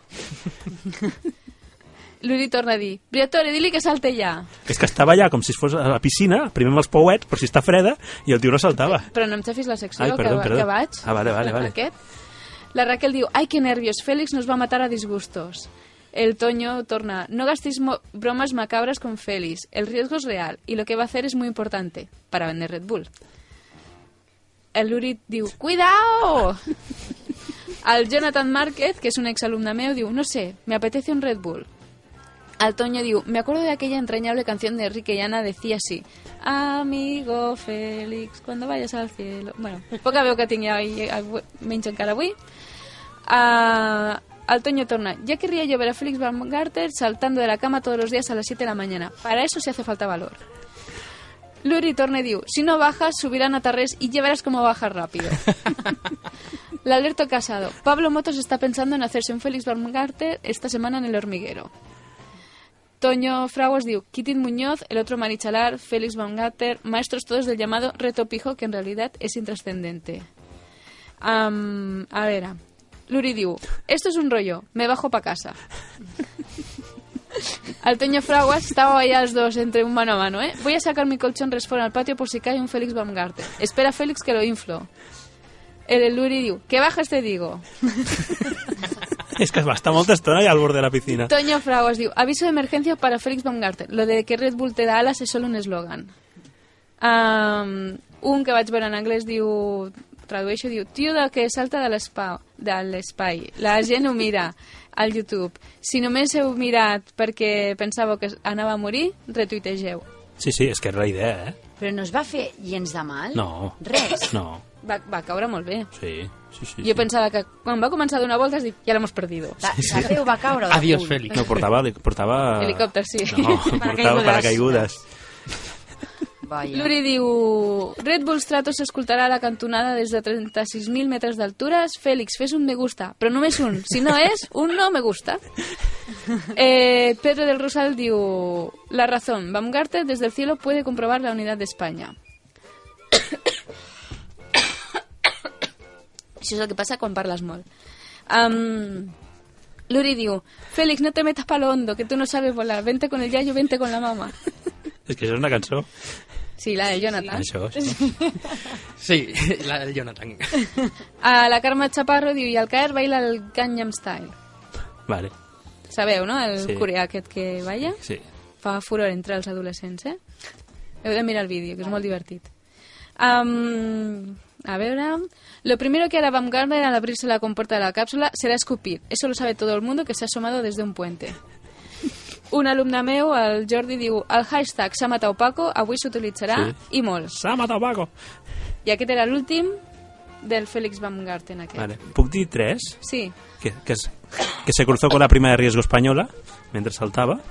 Speaker 14: Luri torna a dir, Briatore, dile que salte ja.
Speaker 1: És que estava allà com si es fos a la piscina, primer amb els pouets, per si està freda, i el tio no saltava.
Speaker 14: Però no em xafis la secció,
Speaker 1: Ai, perdó,
Speaker 14: que,
Speaker 1: perdó.
Speaker 14: que vaig.
Speaker 1: Ah, vale, vale, vale.
Speaker 14: Aquest. La Raquel diu, ai, que nervios, Félix nos va a matar a disgustos. El Toño torna, no gastéis mo- bromas macabras con Félix, el riesgo es real y lo que va a hacer es muy importante para vender Red Bull. El Luri diu, cuidao! Al Jonathan Márquez, que es un exalumne meu, diu, no sé, me apetece un Red Bull. Al Toño diu, me acuerdo de aquella entrañable canción de Enrique Llana, decía así, amigo Félix, cuando vayas al cielo... Bueno, pues poca veu que tingui avui, avui, menys encara avui. Ah, al Toño torna, ya querría yo ver a Félix Van Garter saltando de la cama todos los días a las 7 de la mañana. Para eso se hace falta valor. Luri torna y diu, si no bajas, subirán a Tarrés y ya verás cómo bajas rápido. La alerta casado. Pablo Motos está pensando en hacerse un Félix Baumgartner esta semana en el hormiguero. Toño Fraguas diu, Kitin Muñoz, el otro Marichalar, Félix Baumgartner, maestros todos del llamado reto pijo que en realidad es intrascendente. Am, a ver, ah. Luri diu, esto es un rollo, me bajo pa casa. Al Toño Fraguas estaba ahí a las dos entre un mano a mano, ¿eh? Voy a sacar mi colchón resfón al patio por si cae un Félix Baumgartner. Espera Félix que lo inflo. El del Luri diu, que bajes te digo.
Speaker 1: És que es va estar molta estona allà al bord de la piscina.
Speaker 14: Toño Fraguas diu, aviso de emergencia para Félix Baumgartner. Lo de que Red Bull te da alas es solo un eslogan. Um, un que vaig veure en anglès diu, tradueixo, diu, tio del que salta de l'espa- de l'espai, la gent ho mira al YouTube. Si només heu mirat perquè pensàveu que anava a morir, retuitegeu.
Speaker 1: Sí, sí, és que era la idea, eh?
Speaker 2: Però no es va fer gens de mal?
Speaker 1: No.
Speaker 2: Res?
Speaker 1: No,
Speaker 14: Va, va caure molt bé.
Speaker 1: sí, sí, sí.
Speaker 14: Sí, jo pensava que quan va començar a donar voltes, dic, ja l'hemos perdido.
Speaker 2: Sí, sí. Tardeu va caure de
Speaker 1: Adiós,
Speaker 2: cul.
Speaker 1: Félix. No, portava... portava...
Speaker 14: Helicòpter, sí.
Speaker 1: No, portava
Speaker 14: Paracaigudes.
Speaker 1: paracaigudes.
Speaker 14: Luri diu... Red Bull Stratos s'escoltarà a la cantonada des de 36.000 metres d'altura. Fèlix, fes un me gusta, però només un. Si no és, un no me gusta. Eh, Pedro del Rosal diu... La razón. Baumgartner desde el cielo puede comprobar la unidad de España. Això és el que passa quan parles molt. Um, Luri diu... Félix, no te metas palo hondo, que tú no sabes volar. Vente con el yayo, vente con la mama.
Speaker 1: És que això és una cançó.
Speaker 14: Sí, la de Jonathan.
Speaker 1: Això,
Speaker 3: Sí, la del Jonathan.
Speaker 14: A la Carme Chaparro diu, i al caer baila el Gangnam Style.
Speaker 1: Vale,
Speaker 14: Sabeu, no?, el
Speaker 1: Sí.
Speaker 14: coreà aquest que balla.
Speaker 1: sí.
Speaker 14: Fa furor entre els adolescents, eh? Heu de mirar el vídeo, que és molt divertit. Um, a veure... Lo primero que hará Baumgartner al abrirse la compuerta de la cápsula será escupir. Eso lo sabe todo el mundo que se ha asomado desde un puente. Un alumne meu, el Jordi, diu el hashtag s'ha matat Paco avui s'utilitzarà
Speaker 1: Sí.
Speaker 14: i molt.
Speaker 1: S'ha matat Paco.
Speaker 14: I aquest era l'últim del Félix Baumgarten aquest.
Speaker 1: Vale. Puc dir tres?
Speaker 14: Sí.
Speaker 1: que, que, es- que se cruzó con la prima de riesgo española mentre saltava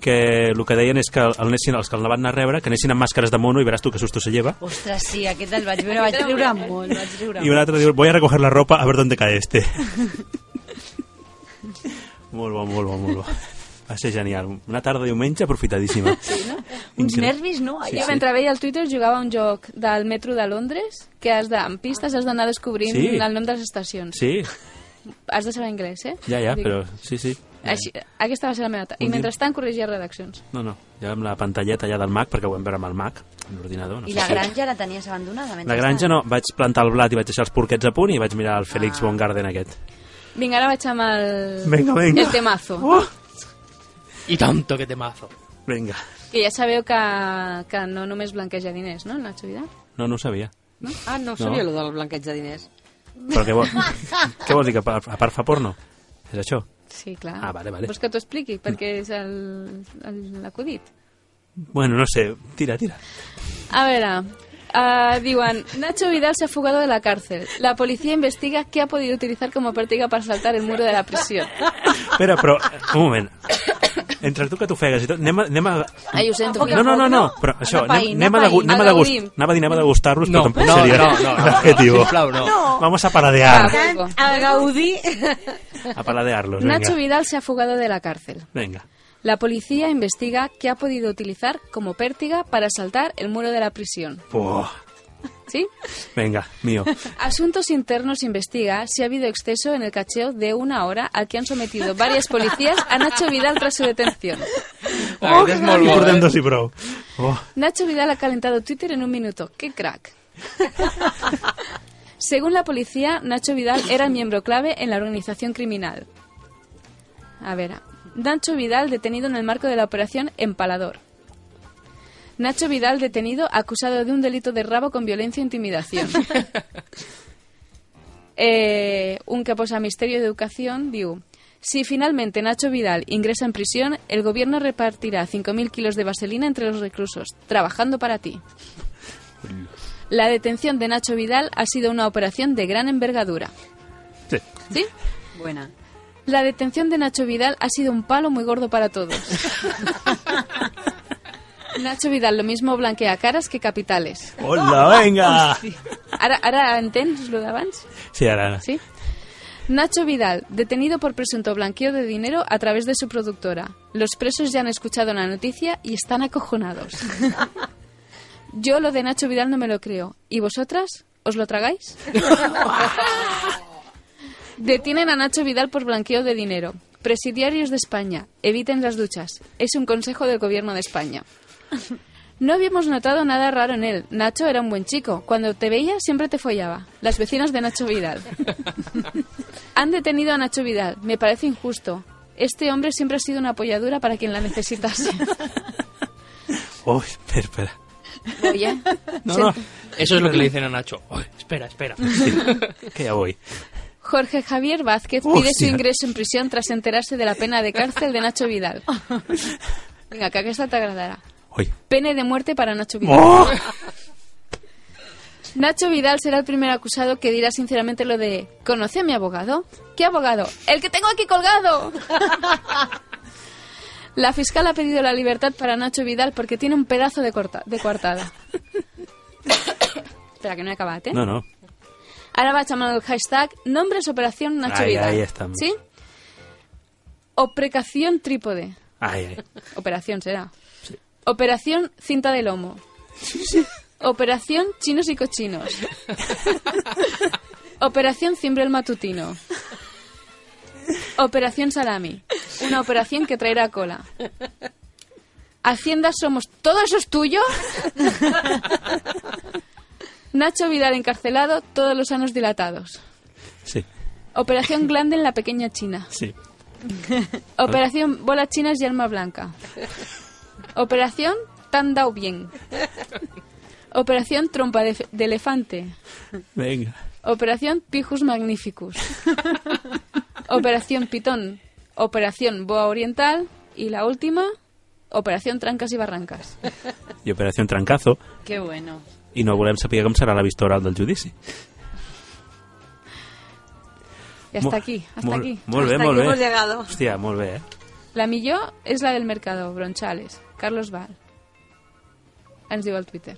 Speaker 1: que el que deien és que el anessin, els que el van anar a rebre que anessin amb màscares de mono i veràs tu que susto se lleva
Speaker 2: Ostres, sí, aquest el vaig veure, vaig riure molt, vaig riure
Speaker 1: i un altre diu voy a recoger la ropa a ver dónde cae este molt bo, molt bo, molt bo va ser genial, una tarda de diumenge aprofitadíssima
Speaker 2: Uns
Speaker 1: Increïble.
Speaker 2: nervis, no?
Speaker 1: Sí,
Speaker 14: Sí, jo
Speaker 1: sí.
Speaker 14: mentre veia el Twitter jugava a un joc del metro de Londres que has de, amb pistes has d'anar descobrint
Speaker 1: Sí.
Speaker 14: el nom de les estacions.
Speaker 1: sí,
Speaker 14: Has de saber anglès, eh?
Speaker 1: ja, ja,
Speaker 14: Vull dir,
Speaker 1: però sí, sí
Speaker 14: Així, aquesta va ser la meva... ta-
Speaker 1: Un
Speaker 14: I
Speaker 1: dia-
Speaker 14: mentrestant corregia redaccions.
Speaker 1: no, no, ja amb la pantalleta allà del Mac perquè ho vam veure amb el Mac, amb l'ordinador no
Speaker 2: I
Speaker 1: sé
Speaker 2: la
Speaker 1: si-
Speaker 2: granja la tenies abandonada?
Speaker 1: la granja no, vaig plantar el blat i vaig deixar els porquets a punt i vaig mirar el Félix
Speaker 2: Ah.
Speaker 1: Von Garden aquest
Speaker 14: Vinga, ara vaig amb el...
Speaker 1: Vinga, vinga. Oh!
Speaker 14: El temazo.
Speaker 3: I tanto que temazo.
Speaker 1: Vinga.
Speaker 14: Que ja sabeu que, que no només blanqueja diners, no, Nacho Vidal?
Speaker 1: No, no ho sabia.
Speaker 14: No?
Speaker 17: Ah, no
Speaker 1: No. sabia
Speaker 17: lo del blanqueig de diners.
Speaker 1: Però què vol, què vol dir? Que a part- a part fa porno? És això?
Speaker 14: Sí, clar.
Speaker 1: Ah, vale, vale.
Speaker 14: Vols que t'ho expliqui? Perquè és el- el- l'acudit.
Speaker 1: Bueno, no sé. Tira, tira.
Speaker 14: A ah, veure, uh, diuen, Nacho Vidal se ha fugado de la cárcel. La policía investiga qué ha podido utilizar como pértiga para saltar el muro de la prisión.
Speaker 1: Espera, però... Un moment. Entre tu que t'ofegues i tot... Anem a... Anem a...
Speaker 14: Ai, ho sento.
Speaker 1: No, no, no, no, però això, anem, anem, a, degu anem a, degust anava a dir, anem a degustar-los,
Speaker 3: No,
Speaker 1: però tampoc
Speaker 3: no,
Speaker 1: seria...
Speaker 3: no, no, no,
Speaker 1: Què diu?
Speaker 3: sisplau, no. No.
Speaker 1: Vamos a
Speaker 14: Ah,
Speaker 1: paladear,
Speaker 14: Al Gaudí.
Speaker 1: a paladear-los, vinga.
Speaker 14: Nacho Vidal se ha fugado de la cárcel.
Speaker 1: Vinga.
Speaker 14: La policía investiga qué ha podido utilizar como pértiga para saltar el muro de la prisión.
Speaker 1: Puh,
Speaker 14: ¿Sí?
Speaker 1: Oh, venga, mío.
Speaker 14: Asuntos Internos investiga si ha habido exceso en el cacheo de una hora al que han sometido varias policías a Nacho Vidal tras su detención.
Speaker 3: Oh, és molt
Speaker 1: I
Speaker 3: bo,
Speaker 1: portem
Speaker 3: eh?
Speaker 1: dos i prou. Oh,
Speaker 14: Nacho Vidal ha calentado Twitter en un minuto. ¡Qué crack! Según la policía, Nacho Vidal era el miembro clave en la organización criminal. A ver, Nacho Vidal detenido en el marco de la operación Empalador. Nacho Vidal detenido acusado de un delito de rabo con violencia e intimidación. Eh, un Ministerio de Educación diu si finalmente Nacho Vidal ingresa en prisión, el gobierno repartirá 5.000 kilos de vaselina entre los reclusos, trabajando para ti. La detención de Nacho Vidal ha sido una operación de gran envergadura.
Speaker 1: Sí.
Speaker 14: ¿Sí?
Speaker 2: Buena.
Speaker 14: La detención de Nacho Vidal ha sido un palo muy gordo para todos. Nacho Vidal lo mismo blanquea caras que capitales.
Speaker 1: hola, venga!
Speaker 14: Ara, ara entens lo d'abans?
Speaker 1: Sí, ara.
Speaker 14: ¿Sí? Nacho Vidal, detenido por presunto blanqueo de dinero a través de su productora. Los presos ya han escuchado la noticia y están acojonados. Yo lo de Nacho Vidal no me lo creo. ¿Y vosotras? ¿Os lo tragáis? Detienen a Nacho Vidal por blanqueo de dinero. Presidiarios de España, eviten las duchas. Es un consejo del gobierno de España. No habíamos notado nada raro en él. Nacho era un buen chico. Cuando te veía siempre te follaba. Las vecinas de Nacho Vidal. Han detenido a Nacho Vidal. Me parece injusto. Este hombre siempre ha sido una apoyadura para quien la necesitase.
Speaker 1: Uy, Oh, espera, espera.
Speaker 14: Oye,
Speaker 1: No, no.
Speaker 3: Eso es lo que le dicen a Nacho. Oye, espera, espera.
Speaker 1: Que ya voy.
Speaker 14: ¿Eh? Jorge Javier Vázquez pide su
Speaker 1: Hòstia.
Speaker 14: ingreso en prisión tras enterarse de la pena de cárcel de Nacho Vidal. Venga, que aquesta t'agradarà.
Speaker 1: Ui.
Speaker 14: Pene de muerte para Nacho Vidal.
Speaker 1: Oh!
Speaker 14: Nacho Vidal será el primer acusado que dirá sinceramente lo de ¿Conoce a mi abogado? ¿Qué abogado? ¡El que tengo aquí colgado! La fiscal ha pedido la libertad para Nacho Vidal porque tiene un pedazo de, corta, de coartada. Espera, que no he acabat, eh?
Speaker 1: No, no.
Speaker 14: Ahora va a llamar el hashtag nombres operación Nacho
Speaker 1: Ahí,
Speaker 14: Vidal.
Speaker 1: ahí estamos.
Speaker 14: ¿Sí? Oprecación trípode.
Speaker 1: Ay, ay.
Speaker 14: Operación será. Operación cinta de lomo. Operación chinos y cochinos. Operación cimbrel matutino. Operación salami. Una operación que traerá cola. Hacienda somos. ¿Todo eso es tuyo? Nacho Vidal encarcelado, todos los años dilatados.
Speaker 1: Sí,
Speaker 14: Operación glande en la pequeña China.
Speaker 1: sí.
Speaker 14: Operación Bola Chinas y Alma Blanca. Operación Tandao Bien. Operación Trompa de, de Elefante.
Speaker 1: Venga.
Speaker 14: Operación Pijus Magnificus. Operación Pitón. Operación Boa Oriental. Y la última, Operación Trancas y Barrancas.
Speaker 1: I Operació Trencazo.
Speaker 2: Qué bueno.
Speaker 1: I no volem saber com serà la vista oral del judici.
Speaker 14: Y hasta
Speaker 1: Mo-
Speaker 14: aquí, hasta
Speaker 1: molt-
Speaker 14: aquí.
Speaker 1: Molt bé,
Speaker 14: Hasta aquí
Speaker 1: molt bé.
Speaker 14: hemos llegado.
Speaker 1: Hòstia, molt bé, eh?
Speaker 14: La millor és la del Mercado, Bronchales. Carlos Val. Ens diu al Twitter.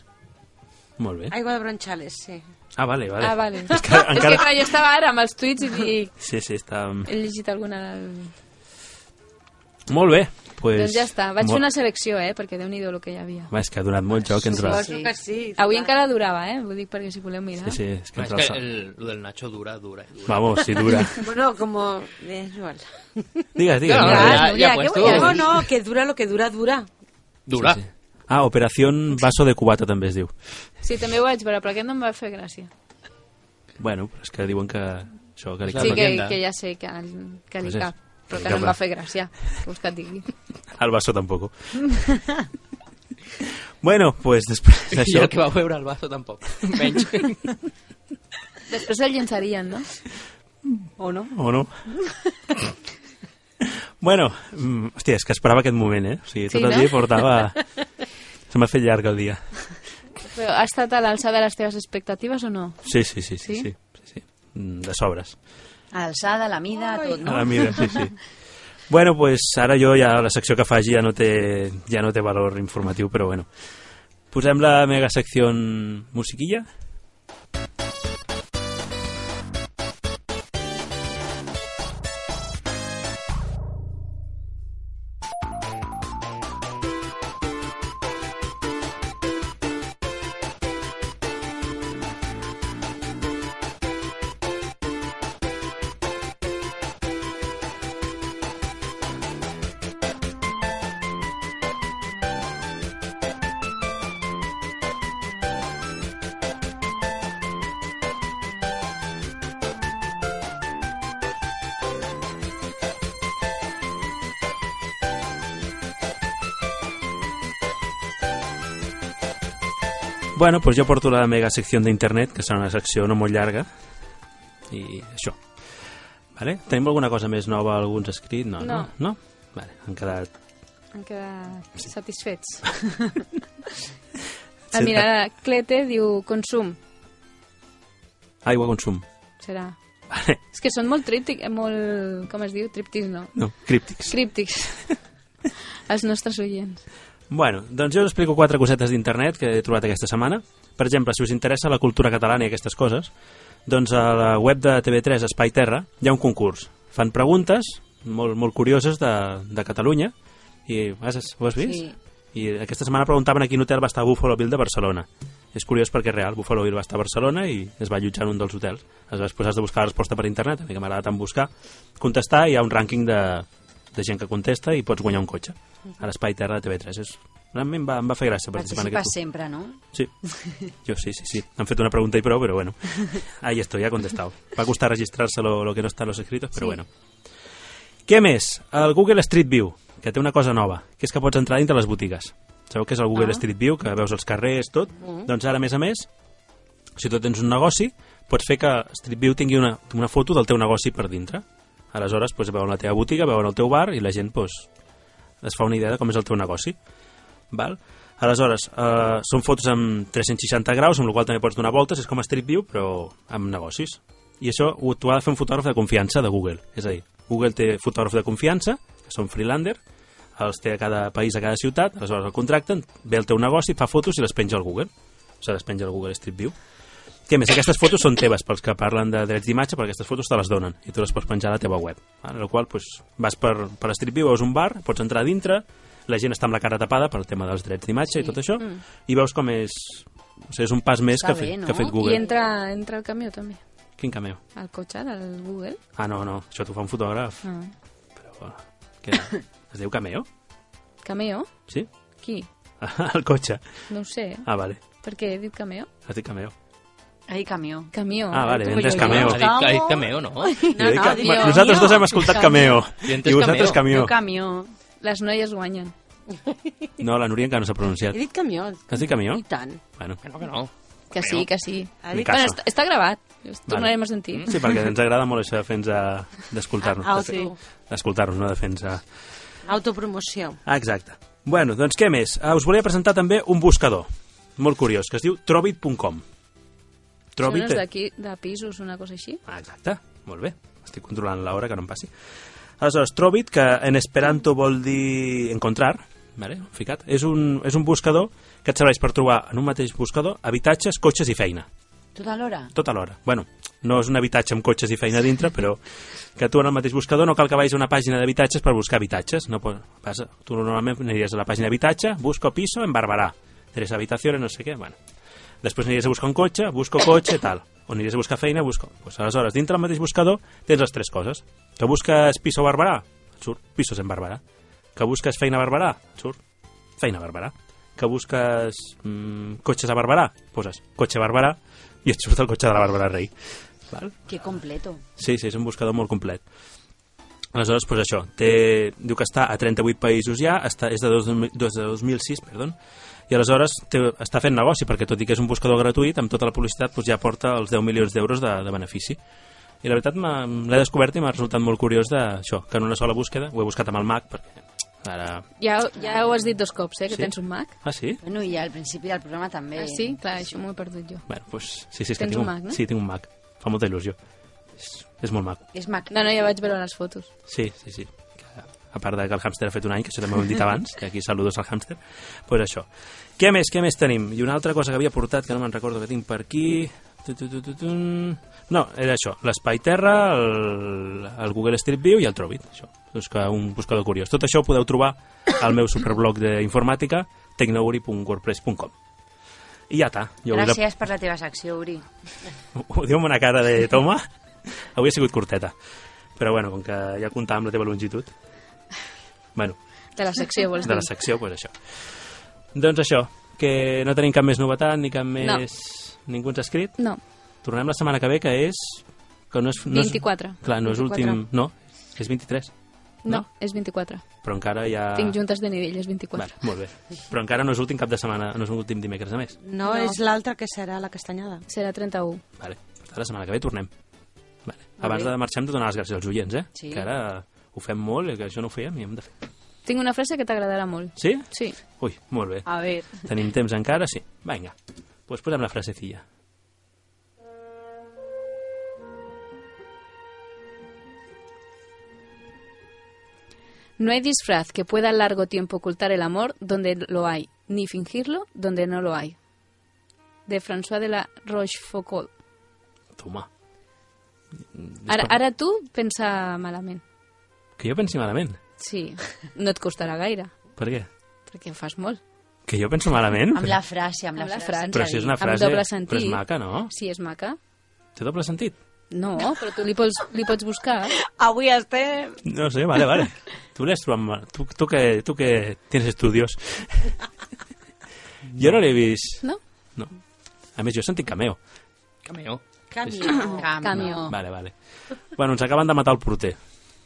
Speaker 1: Molt bé.
Speaker 17: Aigua de Bronchales, sí.
Speaker 1: Ah, vale, vale.
Speaker 14: Ah, vale.
Speaker 1: És eh. que encara...
Speaker 14: És que clar, jo estava ara amb els tuits i dic...
Speaker 1: Sí, mm. sí, està...
Speaker 14: He llegit alguna...
Speaker 1: Molt bé. Pues...
Speaker 14: Pues, doncs ja està. Vaig
Speaker 1: mo-
Speaker 14: fer una selecció, eh? Perquè déu-n'hi-do el que hi havia.
Speaker 1: Va, és que ha donat molt joc entre...
Speaker 14: Suposo que sí. Avui encara durava, eh? Ho dic perquè si voleu mirar.
Speaker 1: Sí, sí, és que
Speaker 3: Ah, es
Speaker 1: entre
Speaker 3: que
Speaker 1: els...
Speaker 3: el, lo del Nacho dura, dura. dura.
Speaker 1: Vamos, sí, dura.
Speaker 17: Bueno, como... Eh, Joan.
Speaker 1: Digues, digues.
Speaker 3: No, no,
Speaker 1: Núria.
Speaker 3: ja- ja
Speaker 17: Núria,
Speaker 3: pues
Speaker 17: què
Speaker 3: tu.
Speaker 17: voy a- no, no, que dura lo que dura, dura.
Speaker 3: Dura.
Speaker 1: Sí, sí. Ah, Operació Vaso de Cubata també es diu.
Speaker 14: Sí, també ho vaig veure, però aquest no em va fer gràcia.
Speaker 1: Bueno, però és que diuen que... Això, que li
Speaker 14: sí,
Speaker 1: cap-
Speaker 14: que, que ja sé que, el- que li
Speaker 1: Pues és.
Speaker 14: cap, però
Speaker 1: Li
Speaker 14: que no
Speaker 1: cap
Speaker 14: em
Speaker 1: la-
Speaker 14: va fer gràcia. Què vols que et digui?
Speaker 1: El vaso tampoc. bueno, pues després
Speaker 3: I
Speaker 1: d'això...
Speaker 3: el que va veure el vaso tampoc. Menys.
Speaker 14: Després el llençarien, no?
Speaker 17: O no?
Speaker 1: O no? bueno, mm, hòstia, és que esperava aquest moment, eh? O sigui,
Speaker 14: Sí,
Speaker 1: tot el
Speaker 14: no?
Speaker 1: dia portava... Se m'ha fet llarg el dia.
Speaker 14: Però ha estat a l'alçada de les teves expectatives o no?
Speaker 1: Sí, sí, sí, sí,
Speaker 14: Sí?
Speaker 1: sí. sí, sí. Mm, De sobres.
Speaker 2: A l'alçada, a la mida, a tot, no?
Speaker 1: A la mida, Ah, sí, sí. Bueno, pues ara jo ja la secció que faci ja no té, ja no té valor informatiu, però bueno. Posem la mega secció en musiquilla. Bueno, doncs jo porto la mega secció d'internet, que serà una secció no molt llarga, i això. Vale? Tenim alguna cosa més nova, alguns escrit? No, no. no? Vale, han quedat...
Speaker 14: Han quedat satisfets. ah, mira, Clete diu consum.
Speaker 1: Aigua consum.
Speaker 14: Serà. És que són molt tríptics, molt... com es diu? Tríptics, no.
Speaker 1: No, críptics.
Speaker 14: Críptics. Els nostres oients.
Speaker 1: Bueno, doncs jo us explico quatre cosetes d'internet que he trobat aquesta setmana. Per exemple, si us interessa la cultura catalana i aquestes coses, doncs a la web de TV3 Espai Terra hi ha un concurs. Fan preguntes molt, molt curioses de, de Catalunya i has, ho has vist?
Speaker 2: Sí.
Speaker 1: I aquesta setmana preguntaven a quin hotel va estar Buffalo Bill de Barcelona. És curiós perquè és real, Buffalo Bill va estar a Barcelona i es va allotjar en un dels hotels. Aleshores, pues, has de buscar la resposta per internet, a mi que m'agrada tant buscar. Contestar, hi ha un rànquing de, de gent que contesta i pots guanyar un cotxe. A l'Espai Terra de TV3. És, realment va, em va fer gràcia participar en
Speaker 2: Participa
Speaker 1: aquest...
Speaker 2: sempre, no?
Speaker 1: Sí, yo sí, sí, sí. Han fet una pregunta y prou, pero bueno. Ahí estoy, ha contestado. Va a costar registrarse lo, lo que no está en los escritos, pero
Speaker 2: Sí.
Speaker 1: bueno. Què més? El Google Street View, que té una cosa nova, que és que pots entrar dintre les botigues. Sabeu que és el Google
Speaker 2: Ah.
Speaker 1: Street View, que veus els carrers, tot?
Speaker 2: Mm.
Speaker 1: Doncs ara, a més a més, si tu tens un negoci, pots fer que Street View tingui una, una foto del teu negoci per dintre. Aleshores, doncs, veuen la teva botiga, veuen el teu bar i la gent doncs, es fa una idea de com és el teu negoci. Val? Aleshores, eh, són fotos amb 360 graus, amb la qual cosa també pots donar voltes, és com Street View, però amb negocis. I això ho t'ho ha de fer un fotògraf de confiança de Google. És a dir, Google té fotògraf de confiança, que són freelander, els té a cada país, a cada ciutat, aleshores el contracten, ve el teu negoci, fa fotos i les penja al Google. Se les penja al Google Street View. Que més, aquestes fotos són teves, pels que parlen de drets d'imatge, perquè aquestes fotos te les donen i tu les pots penjar a la teva web. En la qual pues, vas per, per Street View, veus un bar, pots entrar a dintre, la gent està amb la cara tapada pel tema dels drets d'imatge i tot això,
Speaker 14: Mm.
Speaker 1: i veus com és... O sigui, és un pas més
Speaker 14: Està
Speaker 1: que, ha fet,
Speaker 14: bé, no?
Speaker 1: que ha fet Google.
Speaker 14: I entra, entra el camió, també.
Speaker 1: Quin cameo?
Speaker 14: El cotxe del Google.
Speaker 1: Ah, no, no, això t'ho fa un fotògraf.
Speaker 14: Ah.
Speaker 1: Que es diu cameo?
Speaker 14: Cameo?
Speaker 1: Sí?
Speaker 14: Qui?
Speaker 1: El cotxe.
Speaker 14: No ho sé. eh?
Speaker 1: Ah, vale.
Speaker 14: Per què diu cameo?
Speaker 1: Has dit cameo.
Speaker 2: Ha dit camió.
Speaker 14: Camió.
Speaker 1: Ah, vale,
Speaker 14: tu,
Speaker 1: entres
Speaker 14: jo, jo.
Speaker 1: cameo.
Speaker 3: Ha dit cameo, no?
Speaker 1: Jo dic que- Nosaltres dos hem escoltat cameo.
Speaker 3: I
Speaker 1: I vosaltres cameo.
Speaker 14: camió. Les noies guanyen.
Speaker 1: No, la Núria encara no s'ha pronunciat.
Speaker 14: dit camió.
Speaker 1: Has dit camió?
Speaker 14: I tant.
Speaker 1: Bueno. Que no, que no.
Speaker 14: Que sí, que sí.
Speaker 1: Ha dit-
Speaker 14: Bueno,
Speaker 1: Picasso.
Speaker 14: està, està gravat. Us tornarem a sentir.
Speaker 1: Sí, perquè ens agrada molt això de fer-nos a- d'escoltar-nos.
Speaker 17: Ah, ah, sí.
Speaker 1: D'escoltar-nos, no de fer-nos... a-
Speaker 17: Autopromoció.
Speaker 1: Ah, exacte. Bueno, doncs què més? Ah, us volia presentar també un buscador, molt curiós, que es diu trobit.com.
Speaker 14: Són
Speaker 1: Trobit, eh,
Speaker 14: els d'aquí, de pisos, una cosa així.
Speaker 1: Ah, exacte. Molt bé. Estic controlant l'hora que no em passi. Aleshores, Trobit, que en esperanto vol dir encontrar, vale? ho he ficat, és un, és un buscador que et serveix per trobar en un mateix buscador habitatges, cotxes i feina.
Speaker 2: Tot alhora?
Speaker 1: Tot alhora. Bueno, no és un habitatge amb cotxes i feina a dintre, però que tu en el mateix buscador no cal que vagis a una pàgina d'habitatges per buscar habitatges. No pot, vas, tu normalment aniries a la pàgina d'habitatge, busco piso en Barberà, tres habitacions, no sé què, bueno. Després aniries a buscar un cotxe, busco cotxe, tal. O aniries a buscar feina, busco... Pues, aleshores, dintre del mateix buscador tens les tres coses. Que busques piso a Barberà, et surt pisos en Barberà. Que busques feina a Barberà, et surt feina a Barberà. Que busques mm, cotxes a Barberà, poses cotxe a Barberà i et surt el cotxe de la Barberà Rei. Val?
Speaker 2: Que completo.
Speaker 1: Sí, sí, és un buscador molt complet. Aleshores, doncs això, té, diu que està a 38 països ja, està, és de, dos, dos, de 2006, perdó, i aleshores té, està fent negoci, perquè tot i que és un buscador gratuït, amb tota la publicitat doncs ja porta els 10 milions d'euros de, de benefici. I la veritat m'ha- l'he descobert i m'ha resultat molt curiós d'això, que en una sola búsqueda, ho he buscat amb el Mac, perquè ara...
Speaker 14: Ja, ja ho has dit dos cops, eh, que
Speaker 1: Sí.
Speaker 14: tens un Mac.
Speaker 1: Ah, sí?
Speaker 2: Bueno, i al principi del programa també.
Speaker 14: Ah, sí? Clar, això m'ho he perdut jo.
Speaker 1: Bueno, pues, sí, sí, és que
Speaker 14: Tens
Speaker 1: tinc
Speaker 14: un Mac, no?
Speaker 1: Sí, tinc un Mac. Fa molta il·lusió. És, és molt maco.
Speaker 2: És Mac.
Speaker 14: No, no, ja vaig veure les fotos.
Speaker 1: Sí, sí, sí. Que, A part de que el hàmster ha fet un any, que això també ho hem dit abans, que aquí saludos al hàmster, doncs pues això. Què més, què més tenim? I una altra cosa que havia portat, que no me'n recordo que tinc per aquí... Tu, tu, tu, tu, tu. No, era això, l'Espai Terra, el, el Google Street View i el Trobit, això. Doncs que un buscador curiós. Tot això ho podeu trobar al meu superblog d'informàtica, tecnouri.wordpress.com. I ja està. Jo us la-
Speaker 2: Gràcies per la teva secció, Uri.
Speaker 1: ho diu amb una cara de toma. Avui ha sigut curteta. Però bueno, com que ja comptava amb la teva longitud... Bueno,
Speaker 14: De la secció, vols
Speaker 1: de la
Speaker 14: dir?
Speaker 1: secció, doncs això. Doncs això, que no tenim cap més novetat ni cap més... Ningú ens ha escrit.
Speaker 14: No.
Speaker 1: Tornem la setmana que ve, que és... Que no és no és,
Speaker 14: 24.
Speaker 1: Clar, no és
Speaker 14: 24.
Speaker 1: últim... No, Ah. és 23.
Speaker 14: No, és 24.
Speaker 1: Però encara hi ha...
Speaker 14: Tinc juntes de nivell, és 24.
Speaker 1: Vale, molt bé. Però encara no és últim cap de setmana, no és últim dimecres a més.
Speaker 17: No, no. és l'altra que serà la castanyada.
Speaker 14: Serà 31.
Speaker 1: Vale. Per tant, la setmana que ve tornem. Vale.
Speaker 14: Molt
Speaker 1: Abans
Speaker 14: bé.
Speaker 1: de marxar hem de donar les gràcies als oients, eh?
Speaker 14: Sí.
Speaker 1: Que ara ho fem molt, i que això no ho fèiem i hem de fer.
Speaker 14: Tinc una frase que t'agradarà molt.
Speaker 1: Sí?
Speaker 14: Sí.
Speaker 1: Ui, molt bé.
Speaker 14: A veure.
Speaker 1: Tenim temps encara? Sí. Vinga, doncs pues posem la frasecilla.
Speaker 14: No hay disfraz que pueda largo tiempo ocultar el amor donde lo hay, ni fingirlo donde no lo hay. De François de la Rochefoucauld.
Speaker 1: Toma.
Speaker 14: Ara, ara tu pensa malament.
Speaker 1: Que jo pensi malament.
Speaker 14: Sí, no et costarà gaire,
Speaker 1: Per què?
Speaker 14: perquè ho fas molt.
Speaker 1: Que jo penso malament?
Speaker 2: Amb la frase, amb la,
Speaker 14: Amb la
Speaker 2: frase.
Speaker 14: frase.
Speaker 1: Però si és una
Speaker 14: Amb
Speaker 1: frase...
Speaker 14: doble sentit.
Speaker 1: Però és maca, no?
Speaker 14: Sí, és maca.
Speaker 1: Té doble sentit?
Speaker 14: No, però tu li pots, li pots buscar.
Speaker 2: Avui estem...
Speaker 1: No sé, vale, vale. Tu l'has trobat mal. Tu, tu, que, tu que tens estudios. jo no l'he vist.
Speaker 14: No?
Speaker 1: No. A més, jo he sentit cameo.
Speaker 3: Cameo.
Speaker 2: Camió. Camió.
Speaker 1: Vale, vale. Bueno, ens acaben de matar el porter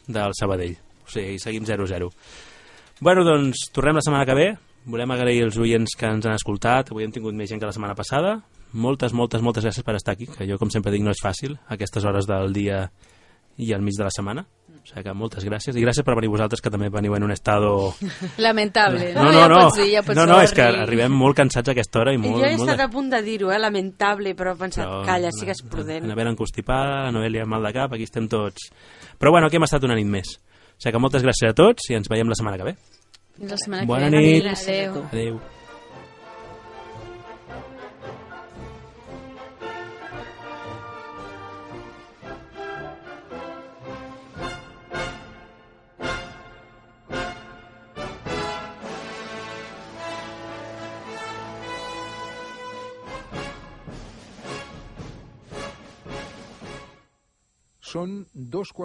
Speaker 1: del Sabadell. O sigui, seguim 0-0. Bueno, doncs, tornem la setmana que ve. Volem agrair els oients que ens han escoltat. Avui hem tingut més gent que la setmana passada. Moltes, moltes, moltes gràcies per estar aquí, que jo, com sempre dic, no és fàcil, a aquestes hores del dia i al mig de la setmana. O sigui que moltes gràcies. I gràcies per venir vosaltres, que també veniu en un estado...
Speaker 14: Lamentable.
Speaker 1: No,
Speaker 14: ja
Speaker 1: no, no.
Speaker 14: Pots dir, ja pots
Speaker 1: No, no, és que
Speaker 14: sorrir.
Speaker 1: arribem molt cansats a aquesta hora i molt...
Speaker 17: jo he
Speaker 1: molt de-
Speaker 17: estat a punt de dir-ho, eh? lamentable, però he pensat,
Speaker 1: Però-
Speaker 17: calla, sigues prudent.
Speaker 1: Anabel encostipada, Noelia mal de cap, aquí estem tots. Però bueno, aquí hem estat una nit més. O sigui que moltes gràcies a tots i ens veiem la setmana que ve.
Speaker 14: Fins la setmana
Speaker 1: Bona
Speaker 14: que ve.
Speaker 1: nit.
Speaker 14: Adéu.
Speaker 1: Adéu.
Speaker 19: Són dos quarts